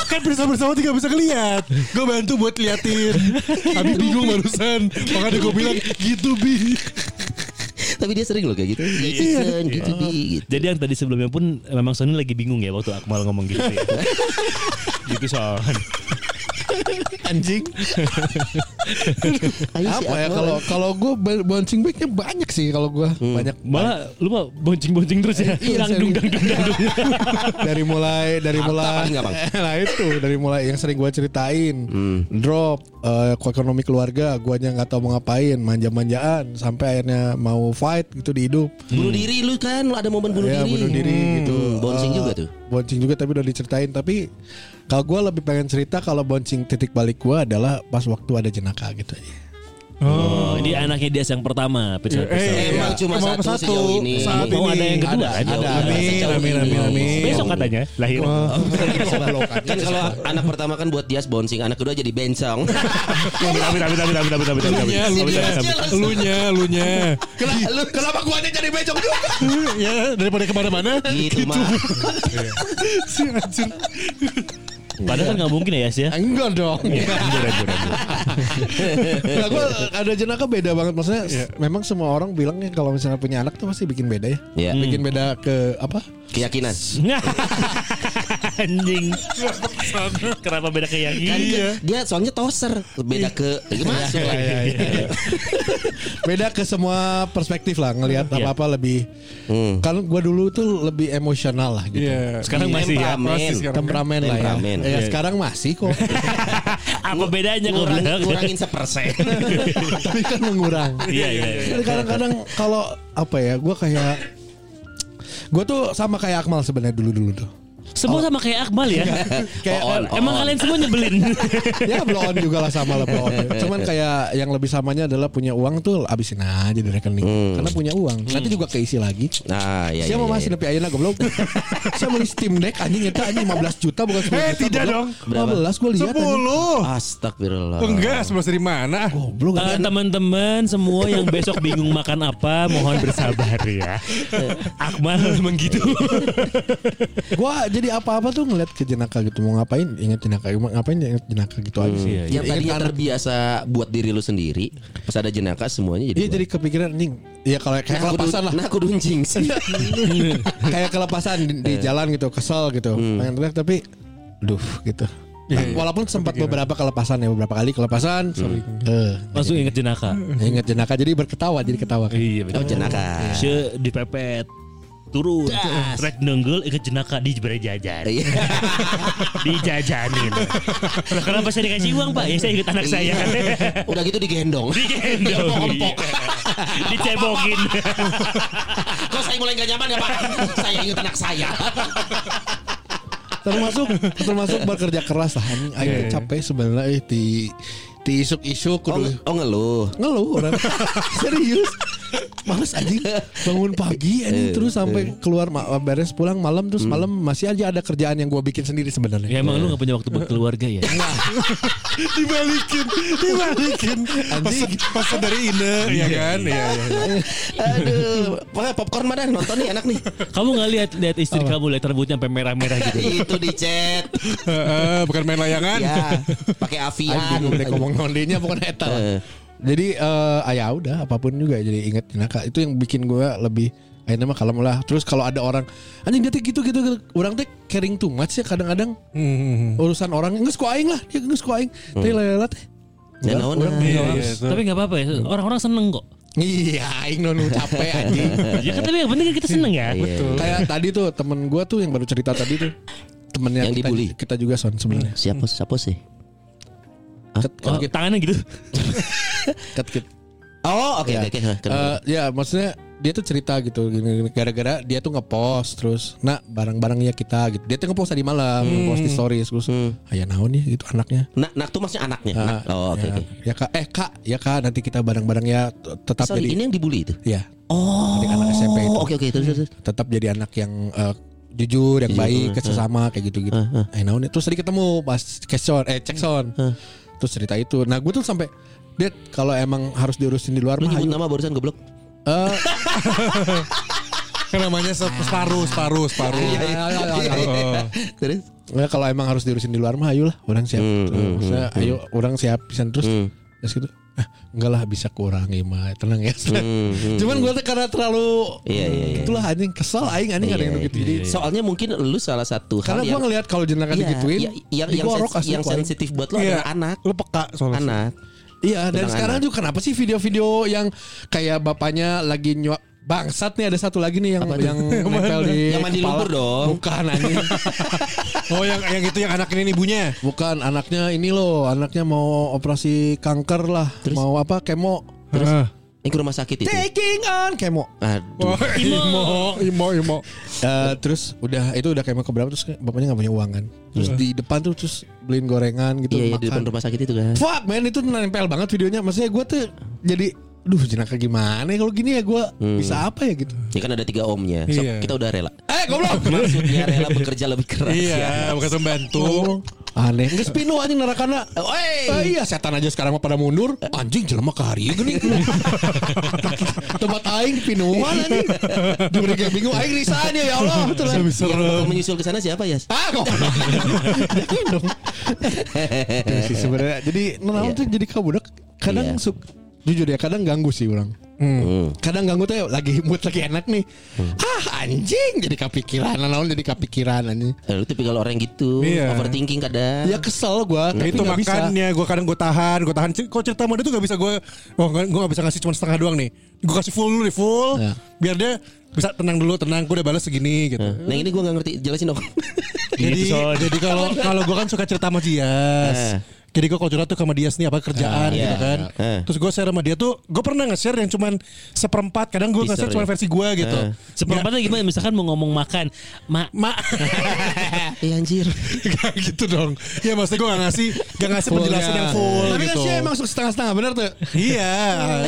S4: kan bersama-sama tidak bisa ngeliat Gue bantu buat liatin Abi bingung barusan Makanya gue bilang gitu bi
S3: tapi dia sering loh kayak gitu Jason gitu di gitu
S6: Jadi yang tadi sebelumnya pun memang Sony lagi bingung ya waktu Akmal ngomong gitu ya. gitu Son.
S5: Anjing.
S3: Ayo si
S5: Apa ya
S3: Akmal.
S5: kalau kalau gue bouncing backnya banyak sih kalau gue
S3: Hmm.
S5: banyak
S6: Malah lu mau boncing-boncing terus ya.
S5: Iya,
S6: Dang dung dang dung dang dung.
S5: dari mulai dari
S3: Harta
S5: mulai
S3: paling gampang. Hmm.
S5: lah itu dari mulai yang sering gue ceritain drop eh, ekonomi keluarga guanya nggak tahu mau ngapain manja-manjaan sampai akhirnya mau fight gitu di hidup
S3: bunuh diri lu kan lu ada momen bunuh
S5: ya
S4: Iya,
S3: diri
S5: bunuh diri gitu
S3: Hmm, bouncing
S5: Eh,
S3: juga tuh.
S5: bouncing juga tapi udah diceritain tapi kalau gue lebih pengen cerita kalau bouncing titik balik gue adalah pas waktu ada jenaka gitu
S6: Oh, ini anaknya dia yang
S4: Eh,
S6: pertama, pecel-pecel.
S3: Emang
S4: Iya.
S3: cuma
S4: Emang
S3: satu,
S4: satu.
S3: sejauh ini.
S4: Saat ini.
S6: Mau ada yang kedua
S5: Ada,
S6: kan?
S5: ada.
S4: Amin,
S3: Sejauh
S4: amin,
S3: ini.
S4: amin, amin.
S6: Besok katanya lahir.
S3: kan kalau anak pertama kan buat dia bouncing, anak kedua jadi bencong.
S6: Amin amin amin amin amin amin amin amin.
S4: Lunya,
S6: Amin,
S4: lunya,
S6: amin, amin.
S4: lunya, lunya.
S3: Kenapa gua aja jadi bencong juga?
S4: Ya daripada kemana-mana
S3: Gitu, mah.
S4: Si anjir
S6: Padahal kan nggak mungkin ya Yas ya.
S5: enggak dong
S6: Anjir, anjir, anjir.
S5: nah, gua ada jenaka beda banget maksudnya s- memang semua orang bilangnya kalau misalnya punya
S3: Ya.
S5: anak tuh pasti bikin beda ya
S3: Iya.
S5: bikin beda ke apa
S3: Keyakinan.
S6: anjing. Kenapa beda kayak yang
S3: Kan
S6: ini?
S3: ke- dia soalnya toser beda ke masuk
S5: Iya,
S3: lagi.
S5: iya, iya, iya. Beda ke semua perspektif lah ngelihat
S6: Iya.
S5: apa-apa lebih.
S3: Hmm.
S5: Kalau gua dulu tuh lebih emosional lah gitu.
S4: Iya.
S6: Sekarang masih ya.
S3: Temperamen.
S4: Pasti sekarang.
S5: Temperamen lah ya.
S3: Temperamen.
S5: Ya, sekarang masih kok.
S6: Apa bedanya kalau
S5: Iya,
S3: Kurang,
S6: bilang?
S3: kurangin sepersen.
S5: Tapi kan mengurang.
S6: Iya iya. iya.
S5: Tapi kadang-kadang kalau apa ya, gua kayak gua tuh sama kayak Akmal sebenarnya dulu-dulu tuh.
S6: Semua sama kayak Akmal ya.
S5: Kayak
S3: Oh, on, oh,
S6: Emang
S3: on.
S6: kalian semua nyebelin.
S5: ya blow on juga lah sama lah blow on. Cuman kayak yang lebih samanya adalah punya uang tuh abisin aja di rekening.
S4: Hmm.
S5: Karena punya uang, nanti juga keisi lagi.
S3: Nah,
S4: iya,
S3: ya,
S5: Siapa masih nepi ayeuna goblok? Saya beli Steam Deck anjing eta anjing 15 juta bukan 10
S4: Eh,
S5: juta,
S4: tidak
S5: goblok.
S4: dong.
S5: 15 gue lihat anjing. Ah.
S4: Sepuluh.
S3: Astagfirullah.
S5: Oh,
S4: Enggak, sebelas dari mana?
S5: Goblok
S6: Eh,
S5: anjing.
S6: teman-teman semua yang besok bingung makan apa mohon bersabar ya. Akmal memang gitu.
S5: Gua jadi apa-apa tuh ngeliat ke jenaka gitu mau ngapain ingat jenaka mau ngapain ingat jenaka gitu aja sih.
S3: Ya, Yang
S5: Ingat
S3: tadinya
S5: anak.
S3: terbiasa buat diri lu sendiri, pas ada jenaka semuanya jadi.
S5: Iya jadi kepikiran anjing. Iya kalau kayak
S3: Nah, kudu-
S5: kelepasan lah. Iya.
S3: Nah, aku dunjing sih.
S5: kayak kelepasan di, di
S3: Iya.
S5: jalan gitu, kesel gitu.
S3: Hmm.
S5: Pengen teriak tapi duh gitu.
S3: Iya,
S5: Walaupun sempat beberapa kelepasan ya beberapa kali
S3: Hmm.
S5: kelepasan. Sorry. Eh,
S6: Langsung inget jenaka.
S5: ingat jenaka jadi berketawa jadi ketawa. kan.
S6: Iya
S3: Oh, jenaka.
S6: She dipepet turun rek nenggel ikut jenaka di jajan
S3: Iya.
S6: dijajanin Lah, kenapa saya dikasih uang pak ya saya ikut anak saya
S3: Udah gitu digendong.
S6: digendong Iya. dicebokin
S5: iya.
S3: Kok saya mulai gak nyaman ya Pak? Saya ingat anak saya.
S5: termasuk termasuk bekerja keras lah anjing aing teh capek sebenarnya eh di di isuk-isuk
S3: Oh,
S5: kudu
S3: oh ngeluh.
S5: ngeluh orang serius males anjing bangun pagi
S4: Iya,
S5: anjing terus sampai keluar ma- beres pulang malam terus
S4: Hmm.
S5: malam masih aja ada kerjaan yang gua bikin sendiri sebenarnya
S6: ya emang lu gak punya waktu buat keluarga ya
S4: dibalikin, dibalikin. Anjing, pesan dari Ine, ya kan? Iya, iya.
S3: Aduh, pokoknya popcorn mana nonton nih enak nih.
S6: kamu gak lihat lihat istri kamu lihat rambutnya sampai merah-merah gitu
S3: Itu di chat.
S5: Eh,
S4: Heeh, bukan main
S5: kan?
S4: layangan.
S3: Ya, pakai Avian.
S5: Aduh, udah ngomong nondenya bukan eta lah.
S3: Iya. Eh.
S5: Jadi eh ah, ya udah apapun juga jadi inget jenaka itu yang bikin gua lebih akhirnya mah kalau lah terus kalau ada orang anjing dia teh gitu gitu, gitu. orang teh caring too much ya kadang-kadang
S3: Hmm.
S5: urusan orang nggak suka aing lah dia nggak suka aing teh lelet teh
S3: Ya, Hmm.
S5: Enggak,
S3: naon,
S5: orang
S3: naon.
S5: nggak
S4: Iya,
S5: harus.
S4: itu.
S6: tapi gak apa-apa ya orang-orang seneng kok
S5: iya aing non capek anjing
S6: ya kan tapi yang penting kita seneng ya
S3: Betul.
S5: kayak tadi tuh temen gua tuh yang baru cerita tadi tuh temennya
S3: Yang
S5: kita,
S3: dibully.
S5: kita juga son sebenarnya
S3: Siapa siapa sih?
S5: Ket-
S6: Oh,
S5: ket-
S6: tangannya gitu
S5: ket- ket-
S3: Oh, oke
S5: Ya.
S3: oke oke.
S5: Eh, ya maksudnya dia tuh cerita gitu gini-gini. gara-gara dia tuh ngepost terus nah barang-barangnya kita gitu dia tuh ngepost tadi malam
S3: Hmm.
S5: ngepost di stories terus ayah naon ya gitu anaknya
S3: Nak nak tuh maksudnya anaknya. Nak.
S5: Ah,
S3: Hmm. Oh, oke
S5: ya,
S3: oke.
S5: ya kak eh kak ya kak nanti kita barang-barangnya t- tetap
S3: Sorry,
S5: jadi
S3: ini yang dibully itu.
S5: ya
S3: Oh.
S5: Adik anak SMP itu.
S3: Oke oke terus terus. terus.
S5: tetap jadi anak yang eh, jujur
S3: eh.
S5: yang baik ke sesama kayak gitu gitu eh naon ya. terus tadi ketemu pas keson eh cekson terus cerita itu nah gue tuh sampai Dad, kalau emang harus diurusin di luar
S3: Lu
S5: mah,
S3: nyebut
S5: ayo."
S3: nama barusan goblok.
S5: Eh,
S4: Kan namanya se- separuh, separuh, separuh.
S3: Iya. Terus
S5: Ya kalau emang harus diurusin di luar mah ayolah orang siap.
S3: Hmm,
S5: gitu. Maksudnya, ayo orang siap pisan terus. Terus gitu. "Ah, enggak lah bisa kurang ya mah tenang ya. Cuman gue tuh karena terlalu
S3: Hmm, Iya, iya, iya.
S5: itulah anjing kesel aing anjing ada
S3: Iya,
S5: yang gitu. Jadi
S3: iya. soalnya mungkin lu salah satu hal
S5: karena gue
S3: yang
S5: ngelihat kalau jenaka
S3: Iya,
S5: digituin ya
S3: iya, yang yang,
S5: digorok
S3: sens-
S5: asli
S3: yang
S5: ku aing.
S3: sensitif buat lu
S4: Iya.
S3: adalah anak.
S4: Lu peka soalnya.
S3: Anak.
S5: Iya, dan
S3: Tentang
S5: sekarang
S3: anak.
S5: juga kenapa sih video-video yang kayak bapaknya lagi nyuap Bangsat nih ada satu lagi nih yang yang nempel di
S3: Yang mandi
S5: kepala.
S3: lumpur dong.
S5: Bukan anjing.
S4: Oh, yang yang itu yang anak ini ibunya.
S5: Bukan anaknya ini loh, anaknya mau operasi kanker lah, mau apa kemo.
S4: Terus
S3: Ini ke rumah sakit itu.
S5: Taking on kemo.
S3: Aduh.
S4: Imo, Imo, Imo.
S5: Eh, terus udah itu udah kemo keberapa terus bapaknya nggak punya uang kan. Terus di depan tuh terus beliin gorengan gitu
S3: Iya, iya, di
S5: makan.
S3: depan rumah sakit itu kan.
S5: Fuck man itu nempel banget videonya. Maksudnya gue tuh jadi duh jenaka gimana ya kalau gini ya gue bisa apa ya gitu.
S3: Ya kan ada tiga omnya. So,
S4: Iya.
S3: Kita udah rela.
S5: Eh goblok.
S3: Maksudnya rela bekerja lebih keras ya.
S4: Iya, bukan pembantu.
S5: Oh, aneh. Nggak spino anjing narakana. Eh, iya setan aja sekarang mah pada mundur. Anjing jelema kari gini. Tempat aing pinuan anjing. Duri kayak bingung aing risanya ya Allah. Betul lah.
S3: Yang menyusul ke sana siapa ya?
S5: Ah kok. Jangan Iya dong. Itu sih Sebenarnya jadi menawan tuh jadi kabudak kadang
S3: Iya.
S5: suk- Jujur ya kadang ganggu sih orang.
S3: Hmm.
S5: Kadang ganggu tuh ya, lagi mood lagi enak nih.
S4: Hmm.
S5: Ah anjing jadi kepikiran, naon jadi kepikiran anjing.
S3: Eh, Lu tipikal orang gitu,
S4: Iya.
S3: overthinking kadang.
S5: Ya kesel gua, tapi
S4: itu
S5: nggak bisa.
S4: makannya gue kadang gue tahan gue tahan kok cerita sama dia tuh gak bisa gue oh gue gak bisa ngasih cuma setengah doang nih gue kasih full dulu nih full
S5: Ya.
S4: biar dia bisa tenang dulu tenang gue udah balas segini gitu
S3: Nah ini gue gak ngerti, jelasin dong. Iya,
S4: jadi
S6: Gitu, Son.
S4: jadi kalau kalau gue kan suka cerita sama
S3: Eh.
S4: Dias jadi gue kalau curhat tuh sama Dias nih apa kerjaan
S3: Ah,
S5: Ya,
S4: gitu
S3: iya.
S4: kan
S3: Eh.
S4: terus gue share sama dia tuh gue pernah nge-share yang cuman seperempat kadang gue nge-share
S3: Teaser
S4: cuma
S3: ya.
S4: versi gue gitu
S3: Eh.
S6: Seperempatnya gimana? Misalkan mau ngomong makan, mak
S4: mak
S3: Iya anjir.
S4: Gak gitu dong Ya maksudnya gue gak ngasih Gak ngasih
S5: Full,
S4: penjelasan
S5: ya.
S4: yang full
S5: Tapi kan
S4: gitu
S5: sih emang setengah-setengah bener tuh.
S3: Iya
S4: Iya,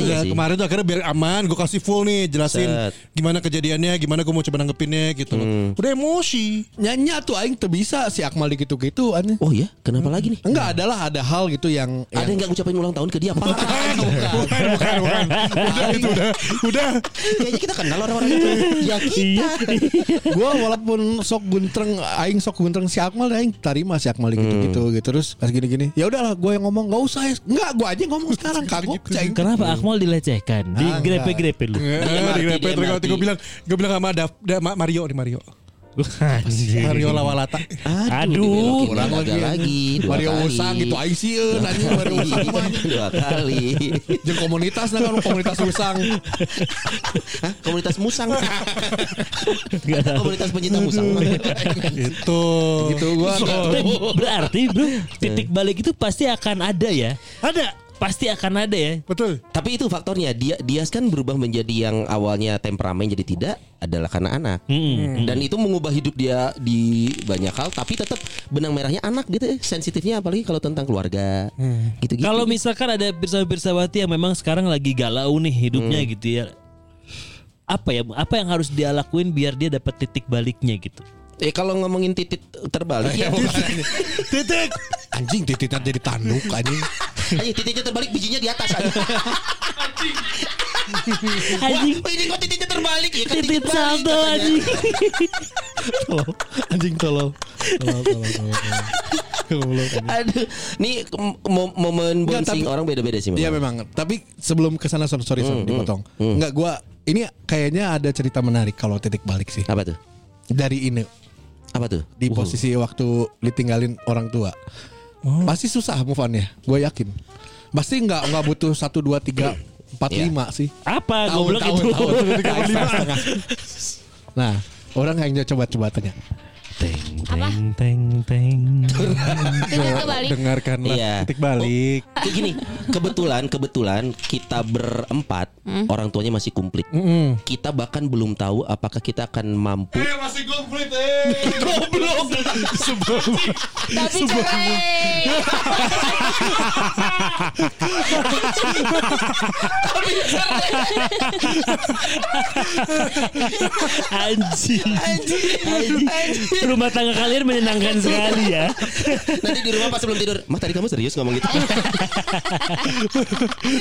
S4: ya,
S3: sih.
S4: kemarin tuh akhirnya biar aman, gue kasih full nih jelasin
S3: Set.
S4: gimana kejadiannya, gimana gue mau coba nanggepinnya gitu loh. Udah emosi.
S5: Nyanyi tuh aing tuh bisa si Akmal gitu-gitu anjing.
S3: Oh iya, kenapa lagi nih?
S4: Hmm.
S5: Enggak adalah ada hal gitu yang,
S3: Ada yang gak ngucapin ulang tahun ke dia? Parah.
S4: bukan, bukan, bukan. Udah, itu udah, udah. Iya,
S3: Kayaknya kita kenal orang-orang itu. Ya kita.
S5: gue walaupun sok guntreng aing sok guntreng si Akmal aing tarima si Akmal gitu gitu
S4: Hmm.
S5: gitu terus pas gini gini ya udahlah gue yang ngomong gak usah ya nggak gue aja yang ngomong sekarang kagok si aing
S6: kenapa Akmal dilecehkan? Di grepe-grepe lu.
S3: mati,
S4: Di
S3: dia
S4: repet,
S3: mati.
S4: gue bilang, gue bilang sama Dav- Da- Ma- Mario nih Mario. Mario Lawalata.
S5: Ah.
S6: Aduh.
S3: dibelokin
S5: Kurang
S3: lagi.
S5: lagi.
S3: lagi. dua
S5: Mario
S3: kali. Iya,
S5: Usang gitu aing sieun
S4: Nah.
S5: anjing Mario Usang mah anjing.
S3: Dua kali.
S5: jeung komunitas nah kan komunitas Usang
S3: Hah? Komunitas musang. Komunitas pencinta musang.
S4: Gitu.
S5: gitu gue
S6: Tapi Berarti bro, titik balik itu pasti akan ada ya.
S4: Ada.
S6: Pasti akan ada ya.
S4: Betul.
S3: Tapi itu faktornya dia Dias kan berubah menjadi yang awalnya temperamen jadi tidak adalah karena anak.
S6: Mm-mm.
S3: Dan itu mengubah hidup dia di banyak hal tapi tetap benang merahnya anak gitu ya. sensitifnya apalagi kalau tentang keluarga. Gitu-gitu.
S6: Kalau misalkan ada pirsawan-pirsawati yang memang sekarang lagi galau nih hidupnya gitu ya. Apa ya? Apa yang harus dia lakuin biar dia dapat titik baliknya gitu?
S3: eh kalau ngomongin titik terbalik ya.
S4: Titik.
S5: anjing titiknya jadi tanduk anjing
S3: Ayo titiknya terbalik bijinya di atas aja.
S6: Anjing.
S3: Wah, Oh, ini kok titiknya terbalik ya? Kan
S6: Titik
S3: balik
S6: saldo
S3: katanya.
S6: anjing.
S5: anjing tolong tolong tolong tolong Goblok, anjing.
S3: Aduh, nih m- mo- momen
S5: Enggak,
S3: bouncing
S5: tapi-
S3: orang beda-beda sih.
S5: Iya
S3: memang.
S5: memang. Tapi sebelum ke sana sorry sorry sorry, dipotong. Enggak gua ini kayaknya ada cerita menarik kalau titik balik sih.
S3: Apa tuh?
S5: Dari ini
S3: Apa tuh?
S5: di posisi waktu ditinggalin orang tua. Pasti susah move on ya, gue yakin. Pasti nggak nggak butuh satu dua tiga empat
S3: Iya.
S5: lima sih.
S6: Apa goblok itu?
S4: gitu.
S5: Nah, orang yang coba-coba tanya.
S2: Apa?
S6: Teng teng teng.
S2: Dengar kebalik.
S4: Dengarkanlah
S3: Iya.
S4: titik balik.
S3: Kayak gini, kebetulan kebetulan kita berempat orang tuanya masih kumplit. Kita bahkan belum tahu apakah kita akan mampu.
S2: Tapi cerai.
S6: Anjing. Anjing. Rumah tangga kalian menyenangkan sekali ya.
S3: Nanti di rumah pas sebelum tidur, mah tadi kamu serius ngomong gitu?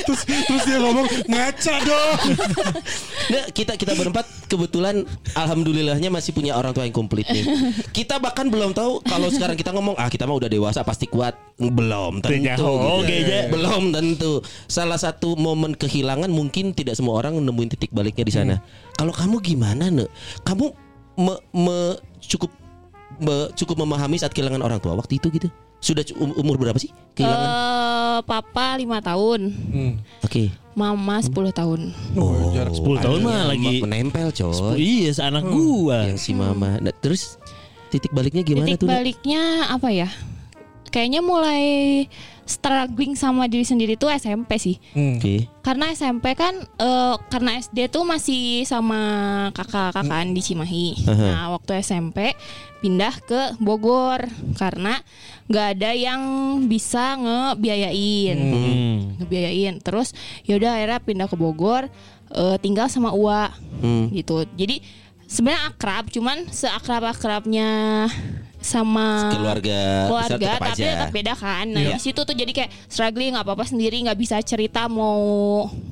S4: terus terus dia ngomong ngaca dong.
S3: Nah, kita kita berempat kebetulan alhamdulillahnya masih punya orang tua yang komplit nih. Kita bahkan belum tahu kalau sekarang kita ngomong ah kita mah udah dewasa pasti kuat. Belum tentu. gitu.
S6: Tidak, oh, oke, aja.
S3: Belum tentu. Salah satu momen kehilangan mungkin tidak semua orang nemuin titik baliknya di
S6: Hmm.
S3: sana. Kalau kamu gimana, Ne? Kamu me- me- cukup me- cukup memahami saat kehilangan orang tua waktu itu gitu. Sudah cu- um- umur berapa sih kehilangan?
S2: Eh, papa 5 tahun,
S3: Hmm. Oke. Hmm.
S2: mama 10 tahun.
S3: Oh,
S6: 10 tahun mah
S3: yang
S6: lagi-
S3: menempel, coy.
S6: Iya, anak gua.
S3: yang si mama. Nah, terus titik baliknya gimana
S2: Titik
S3: tuh? Nak?
S2: baliknya apa ya? Kayaknya mulai struggling sama diri sendiri tuh SMP sih.
S3: Oke.
S2: Karena SMP kan eh, karena SD tuh masih sama kakak-kakaan di Cimahi. Nah, waktu SMP pindah ke Bogor karena nggak ada yang bisa ngebiayain. Ngebiayain. Terus yaudah akhirnya pindah ke Bogor eh, tinggal sama Ua gitu. Jadi sebenarnya akrab cuman seakrab-akrabnya sama
S3: Keluarga besar
S2: Ah, keluarga
S3: Eh, tetap
S2: tapi
S3: aja.
S2: tetap beda kan nah
S3: Iya.
S2: di situ tuh jadi kayak struggling nggak apa-apa sendiri nggak bisa cerita mau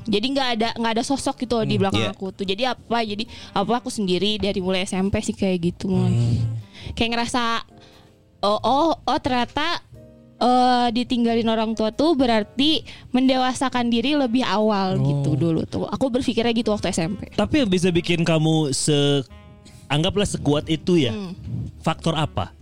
S2: jadi nggak ada nggak ada sosok gitu di
S3: Iya.
S2: belakang aku tuh jadi apa jadi apa aku sendiri dari mulai SMP
S3: Hmm.
S2: sih kayak gitu Mon. kayak ngerasa oh oh oh ternyata eh, ditinggalin orang tua tuh berarti mendewasakan diri lebih
S3: Oh.
S2: awal gitu dulu tuh. Aku berpikirnya gitu waktu SMP.
S6: Tapi yang bisa bikin kamu se anggaplah sekuat itu ya.
S2: Hmm.
S6: Faktor apa?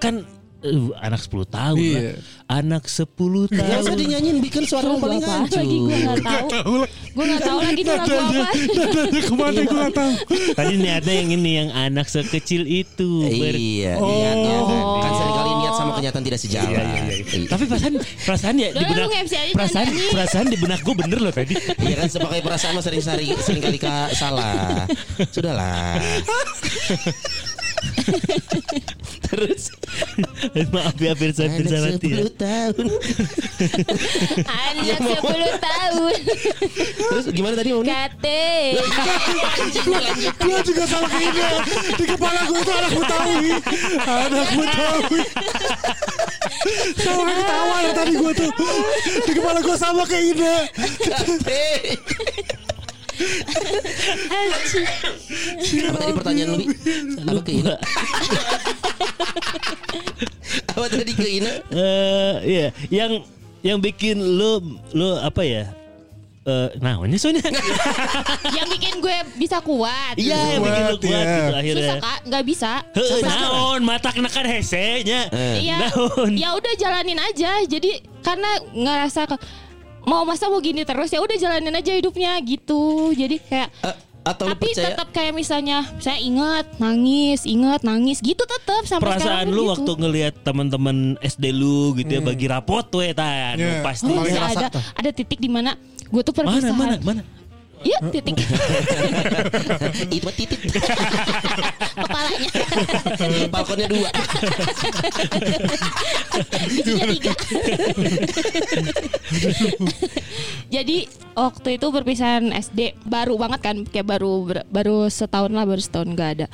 S6: Kan eh, anak 10 tahun lah.
S4: Iya.
S6: Anak 10
S3: Yang usah
S6: tahun.
S3: dinyanyiin bikin suara
S2: Lagu
S3: yang paling
S2: apaan
S3: hancur.
S2: lagi gue nggak tahu. Gue nggak tahu lagi itu lagu apa.
S4: Nadanya kemana gue gak tau
S6: Tadi niatnya yang ini yang anak sekecil itu. Ber-
S3: Iya, niatnya kan sering kali niat
S2: Oh.
S3: sama kenyataan tidak sejalan. Iya,
S6: Tapi perasaan perasaan ya di
S2: Udah,
S6: benak
S2: lu nge-MC aja, Iya.
S6: perasaan
S2: nyanyi.
S6: perasaan di benak gue bener loh tadi.
S3: kan sebagai perasaan mah sering sering sering kali ka- salah. Sudahlah. Terus
S6: Maaf ya Pirsa Pirsa
S3: anak
S6: nanti. ya.
S3: 10 Kan tahun. Iya,
S2: Anak 10 tahun.
S3: Terus gimana tadi Moni?
S2: Kan- Kate.
S4: Gue juga salah kayaknya Di kepala gue itu anak Betawi Anak Betawi Sama kayak ketawa ya tadi gue tuh Di kepala gue sama kayak Ina
S3: Hei. Apa tadi pertanyaan lu? Bi? Apa ke Ina? Apa tadi ke Ina?
S6: Eh iya, yang yang bikin lo lo apa ya? Eh naonnya soalnya.
S2: Yang bikin gue bisa kuat.
S6: Iya, yang bikin lo
S4: Kuat,
S6: kuat
S4: ya.
S6: gitu
S2: Susah
S6: akhirnya.
S2: kak, nggak bisa.
S6: Heuh,
S2: Susah.
S6: naon mata kenakan hesenya.
S2: Iya.
S6: Naon.
S2: Ya udah jalanin aja. Jadi karena ngerasa ke- mau masa mau gini terus ya udah jalanin aja hidupnya gitu. Jadi kayak
S3: Eh, atau lu
S2: tapi
S3: percaya?
S2: tetap kayak misalnya saya ingat nangis, ingat nangis gitu tetap sampai
S6: Perasaan
S2: sekarang pun
S6: lu
S2: gitu.
S6: waktu ngelihat teman-teman SD lu gitu ya bagi rapot we tan
S4: Iya.
S6: pasti.
S2: Oh,
S4: Paling
S2: iya,
S4: ngerasa
S2: ada
S4: tuh.
S2: ada titik di mana gue tuh
S6: Mana
S2: perpisahan.
S6: mana mana.
S2: Iya, titik
S3: Itu titik.
S2: kepalanya.
S3: Balkonnya dua.
S2: Giginya tiga. Jadi waktu itu perpisahan SD baru banget kan kayak baru ber- baru setahun lah baru setahun nggak ada.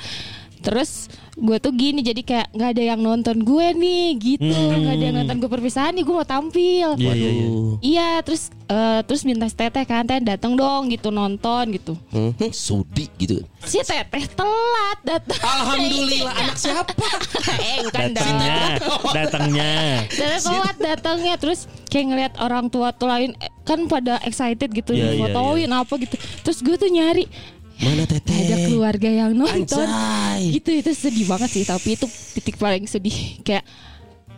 S2: Terus gue tuh gini jadi kayak nggak ada yang nonton gue nih gitu nggak ada yang nonton gue perpisahan nih gue mau tampil.
S6: Hmm. Iya iya iya.
S2: Iya terus eh, terus minta si teteh kan teteh datang dong gitu nonton gitu.
S3: Hmm, Sudi gitu.
S2: Si teteh telat datang.
S3: Alhamdulillah anak siapa?
S2: eh bukan dong.
S6: Datangnya, datangnya.
S2: Terus telat datangnya terus kayak ngeliat orang tua tuh lain eh, kan pada excited gitu
S6: Iya,
S2: yeah,
S6: iya,
S2: fotoin apa gitu. Terus gue tuh nyari
S3: Mana
S2: "Nggak ada
S3: teteh?
S2: keluarga yang nonton.
S3: Anjay.
S2: Gitu itu sedih banget sih tapi itu titik paling sedih kayak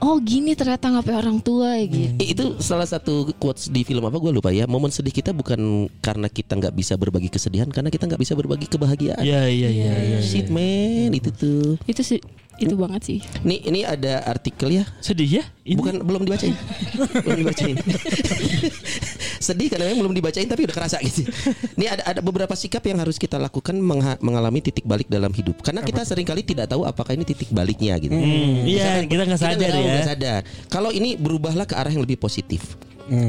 S2: oh gini ternyata ngapain orang tua ya gitu.
S3: I- Itu salah satu quotes di film apa gue lupa ya. Momen sedih kita bukan karena kita nggak bisa berbagi kesedihan, karena kita nggak bisa berbagi kebahagiaan.
S6: Iya iya iya. iya.
S3: Shit man, itu tuh.
S2: Itu se- itu banget sih.
S3: Nih ini ada artikel ya.
S6: Sedih ya? Ini.
S3: Bukan belum dibacain. belum dibacain. Sedih karena memang belum dibacain tapi udah kerasa gitu. Ini ada ada beberapa sikap yang harus kita lakukan mengha- mengalami titik balik dalam hidup. Karena kita seringkali tidak tahu apakah ini titik baliknya gitu.
S6: Iya, kita nggak
S3: Kita
S6: sadar
S3: tahu,
S6: ya.
S3: nggak sadar. Kalau ini berubahlah ke arah yang lebih positif.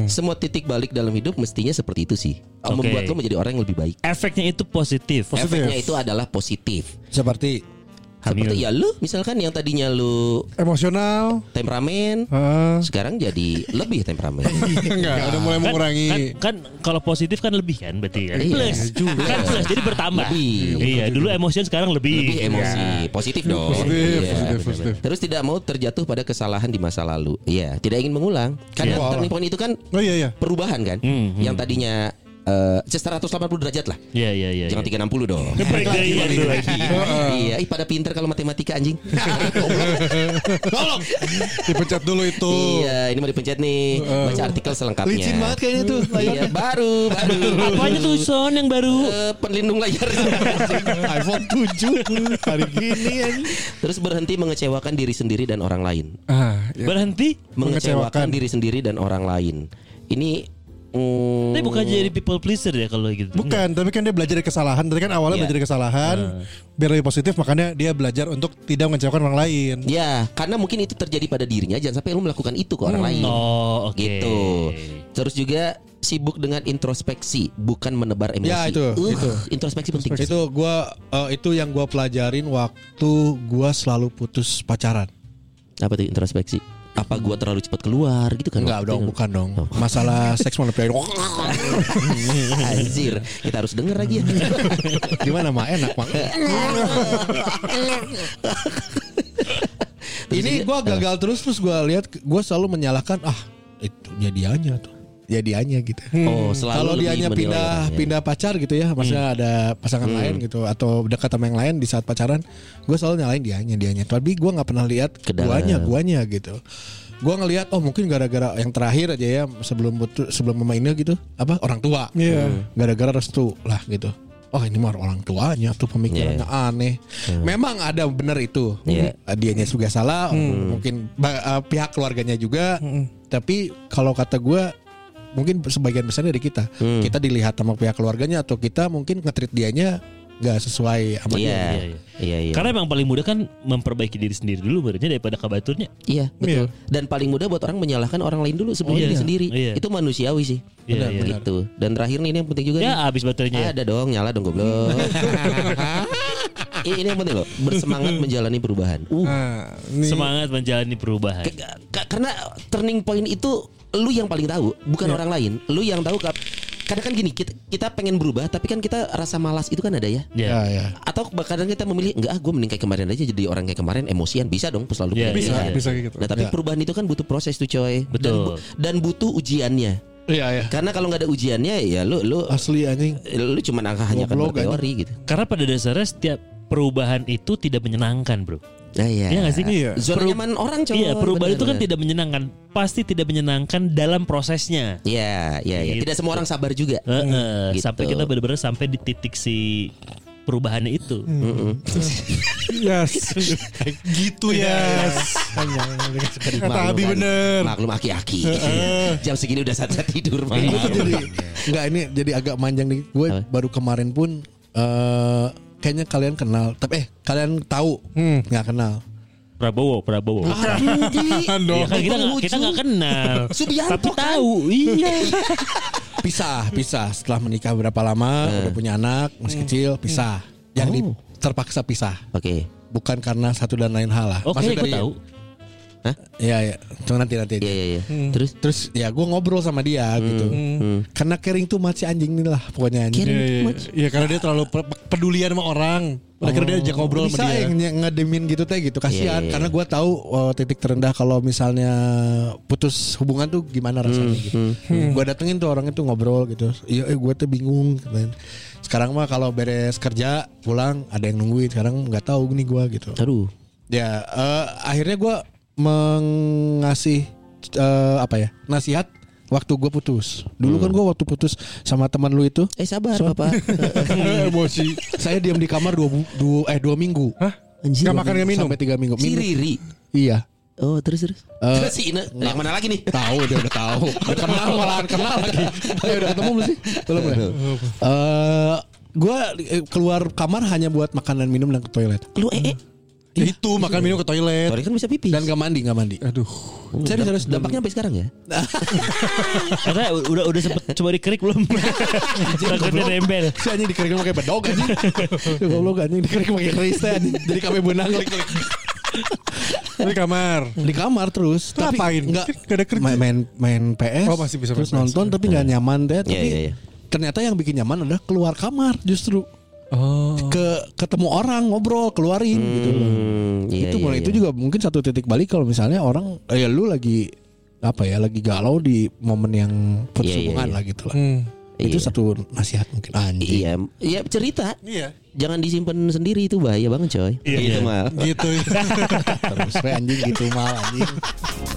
S3: Semua titik balik dalam hidup mestinya seperti itu sih.
S6: Hmm. Oke.
S3: Membuat lo menjadi orang yang lebih baik.
S6: Efeknya itu positif.
S3: Efeknya itu adalah positif.
S5: Seperti
S3: Seperti ya lu misalkan yang tadinya lu
S4: Emosional
S3: temperamen,
S4: Heeh.
S3: sekarang jadi lebih temperamen.
S4: Enggak udah mulai
S6: Kan,
S4: mengurangi
S6: kan, kan kalau positif kan lebih kan berarti kan
S3: Iya.
S6: plus kan plus jadi bertambah
S3: Lebih.
S6: iya dulu emosian sekarang lebih
S3: lebih emosi, positif dong.
S4: Positif,
S3: Iya,
S4: positif,
S3: benar-benar.
S4: positif.
S3: Terus tidak mau terjatuh pada kesalahan di masa lalu. Iya, tidak ingin mengulang. Karena
S4: Iya.
S3: turning point itu kan
S4: Oh iya iya
S3: perubahan kan,
S6: Hmm, hmm.
S3: yang tadinya eh, 180 derajat lah.
S6: iya iya iya
S3: Jangan
S6: iya.
S3: 360 dong.
S6: Break dari
S4: Iya,
S6: yang dulu lagi
S3: iya, ih pada pinter kalau matematika anjing.
S4: Tolong Dipecat dulu itu
S3: iya, ini mau dipencet nih. Baca artikel selengkapnya.
S5: licin banget kayaknya tuh
S3: Iya, baru, baru.
S6: apanya tuh son yang baru
S3: Eh, penlindung layar.
S5: iPhone 7 hari gini
S4: ya.
S5: anjing.
S3: Terus berhenti mengecewakan diri sendiri dan orang lain.
S4: Ah, iya.
S6: berhenti
S4: Mengecewakan.
S3: Mengecewakan diri sendiri dan orang lain. Ini mm,
S6: tapi bukan jadi people pleaser ya kalau gitu
S4: Bukan, tapi kan dia belajar dari kesalahan. Tadi kan
S3: Iya.
S4: awalnya belajar dari kesalahan, biar lebih positif. Makanya dia belajar untuk tidak mengecewakan orang lain.
S3: Ya, karena mungkin itu terjadi pada dirinya. Jangan sampai lu melakukan itu ke
S5: Hmm.
S3: orang lain.
S6: oh oke
S3: Gitu. Terus juga sibuk dengan introspeksi, bukan menebar emosi.
S5: Ya, itu,
S3: Uh,
S5: itu.
S3: Introspeksi penting.
S5: itu gua eh, itu yang gua pelajarin waktu gua selalu putus pacaran.
S3: Apa tuh introspeksi? Apa gua terlalu cepat keluar gitu kan?
S5: Enggak
S3: Waktu
S5: dong,
S3: itu.
S5: bukan dong.
S4: Oh.
S5: Masalah seks monopoli.
S3: Anjir, kita harus denger lagi ya.
S5: Gimana mah enak, Bang? Ini gua gagal terus terus gua lihat gua selalu menyalahkan ah itu jadiannya tuh. Jadiannya gitu.
S3: Oh, selalu
S5: Kalau
S3: lebih Hmm.
S5: dianya
S3: menilai
S5: pindah
S3: orang, ya.
S5: pindah pacar gitu ya, maksudnya ada pasangan lain gitu atau dekat sama yang lain di saat pacaran, gua selalu nyalain dianya, dianya. Tapi gua nggak pernah lihat
S3: Ke dalam.
S5: guanya, guanya gitu. Gua ngelihat oh mungkin gara-gara yang terakhir aja ya sebelum putu- sebelum memainnya gitu, apa orang tua.
S4: Iya.
S5: Hmm. Gara-gara restu lah gitu. Oh ini mah orang tuanya tuh pemikirannya aneh. Memang ada bener itu.
S3: Iya.
S5: Eh, Dianya juga salah,
S4: Hmm.
S5: mungkin ba- eh, pihak keluarganya juga. Tapi kalau kata gua mungkin sebagian besar dari kita. Kita dilihat sama pihak keluarganya atau kita mungkin ngetrit dianya nggak sesuai
S3: Iya.
S5: sama dia.
S6: Iya, iya.
S3: Iya, iya.
S6: Karena emang paling mudah kan memperbaiki diri sendiri dulu barunya daripada kabaturnya.
S3: Iya betul.
S4: Iya.
S3: Dan paling mudah buat orang menyalahkan orang lain dulu sebelum
S6: Oh, iya.
S3: diri sendiri.
S6: Iya.
S3: Itu manusiawi sih.
S6: Iya,
S3: Benar,
S6: iya.
S3: begitu. Dan terakhir nih ini yang penting juga. nih.
S6: Ya habis baterainya.
S3: Ada dong nyala dong goblok. Ih, ini yang penting loh. Bersemangat menjalani perubahan. Uh,
S4: Nah, ini
S6: Semangat menjalani perubahan.
S3: Ke- ka- karena turning point itu lu yang paling tahu, bukan
S6: Iya.
S3: orang lain. Lu yang tahu kap. Karena kan gini, kita, kita pengen berubah, tapi kan kita rasa malas itu kan ada ya.
S5: Ya,
S6: Ya.
S5: ya.
S3: Atau kadang kita memilih enggak ah gue mending kayak kemarin aja jadi orang kayak kemarin emosian bisa dong selalu
S6: Iya,
S3: punya
S4: bisa
S3: pilihan.
S4: bisa gitu.
S3: Nah tapi perubahan itu kan butuh proses tuh coy Dan,
S6: Betul.
S3: bu- dan butuh ujiannya
S5: Iya, ya.
S3: Karena kalau nggak ada ujiannya ya lu lu,
S5: Asli anjing.
S3: lu cuma angka hanya kan
S5: Goblok,
S3: berteori gitu
S6: Karena pada dasarnya setiap perubahan itu tidak menyenangkan, Bro.
S3: Nah iya
S6: Iya nggak sih?
S4: Iya.
S3: Zona
S6: Peru-
S3: nyaman orang coy
S6: Iya, perubahan itu kan
S3: Bener-bener.
S6: tidak menyenangkan. Pasti tidak menyenangkan dalam prosesnya.
S3: Iya iya iya Tidak
S6: Gitu.
S3: semua orang sabar juga
S6: Heeh,
S3: Gitu.
S6: sampai kita benar-benar sampai di titik si perubahannya itu.
S3: Mm-mm.
S4: Yes. gitu
S5: Iya.
S4: ya. Kata Abi bener.
S3: Maklum aki-aki Jam segini udah saatnya tidur Bang.
S5: Gue tuh jadi nggak ini jadi agak manjang nih. Gue
S3: Iya. Apa?
S5: baru kemarin pun eh kayaknya kalian kenal, tapi eh kalian tahu
S4: Hmm.
S5: nggak kenal.
S6: Prabowo, Prabowo.
S3: Ah,
S6: Iya, kan kita nggak kita nggak kenal.
S3: Subianto
S6: Tapi
S3: kan?
S6: tahu, iya.
S5: Pisah, pisah. Setelah menikah berapa lama,
S6: Nah.
S5: udah punya anak,
S6: Hmm.
S5: masih kecil, pisah. Yang di,
S6: Oh.
S5: terpaksa pisah,
S3: Oke
S5: bukan karena satu dan lain hal lah.
S6: Oke,
S5: Maksudnya
S6: gue
S5: dari-
S6: tahu.
S5: Iya, iya. Cuma nanti nanti. aja.
S3: Iya iya iya Terus
S5: Terus ya gue ngobrol sama dia gitu.
S6: Hmm,
S5: Karena caring tuh masih anjing nih lah pokoknya anjing.
S4: Iya, iya, iya. Iya, karena dia terlalu pe- pedulian sama orang. Akhirnya dia ajak ngobrol
S5: bisa
S4: sama dia.
S5: yang nye- ngedemin gitu teh gitu
S3: Iya,
S5: kasihan
S3: iya, iya.
S5: karena gua tahu uh, titik terendah kalau misalnya putus hubungan tuh gimana rasanya gitu gua datengin tuh orang itu ngobrol gitu iya eh, gua tuh bingung katanya. sekarang mah kalau beres kerja pulang ada yang nungguin sekarang nggak tahu nih gua gitu
S3: Aduh
S5: ya eh, akhirnya gua mengasih eh, apa ya nasihat waktu gua putus dulu kan gua waktu putus sama teman lu itu
S3: Eh sabar bapak
S4: Emosi.
S5: saya diam di kamar dua, bu- dua eh dua minggu
S4: Hah?
S3: Anjir,
S4: Gak makan gak minum.
S5: sampai tiga minggu.
S3: Si
S5: Minggu-
S3: Riri
S5: Iya.
S3: Oh terus terus
S5: Eh,
S3: Terus si Ina Yang mana lagi nih
S5: Tahu dia udah tahu. Udah kenal malahan kenal lagi. Eh, udah ketemu belum sih? Belum ya? Eh gua eh, keluar kamar hanya buat makan dan minum dan ke toilet. Iya.
S3: Lu eh eh
S4: Itu makan minum ke toilet.
S3: Sorry kan bisa pipis
S5: Dan gak mandi, gak mandi.
S4: Aduh.
S3: Serius, serius dampaknya sampai sekarang ya?
S6: Karena udah udah sempet coba dikerik belum? Takutnya nempel.
S5: Si anjing dikeringin pakai bedog anjing. Si goblok anjing dikeringin pakai keris teh anjing. Jadi kami benang klik-klik.
S4: Di kamar.
S5: di kamar terus
S4: Terus ngapain?
S5: nggak
S4: Nggak ada kerja.
S5: main, main main PS
S4: Oh, masih bisa main
S5: terus
S4: PS.
S5: nonton tapi nggak nyaman deh tapi
S3: iya, iya.
S5: ternyata yang bikin nyaman adalah keluar kamar justru
S4: Oh.
S5: ke ketemu orang ngobrol keluarin gitu loh
S3: Hmm, iya,
S5: itu
S3: iya,
S5: mulai
S3: iya.
S5: itu juga mungkin satu titik balik kalau misalnya orang eh, ya lu lagi apa ya lagi galau di momen yang
S3: Iya,
S5: putus
S3: iya,
S5: hubungan
S3: iya.
S5: lah gitu lah
S4: Hmm.
S5: itu
S3: Iya.
S5: satu nasihat mungkin anjing
S3: Iya, iya cerita.
S4: Iya.
S3: Jangan disimpan sendiri itu bahaya banget coy. Gitu,
S6: Iya,
S3: Itu
S6: iya.
S3: mal.
S4: Gitu.
S5: terus we anjing gitu mal anjing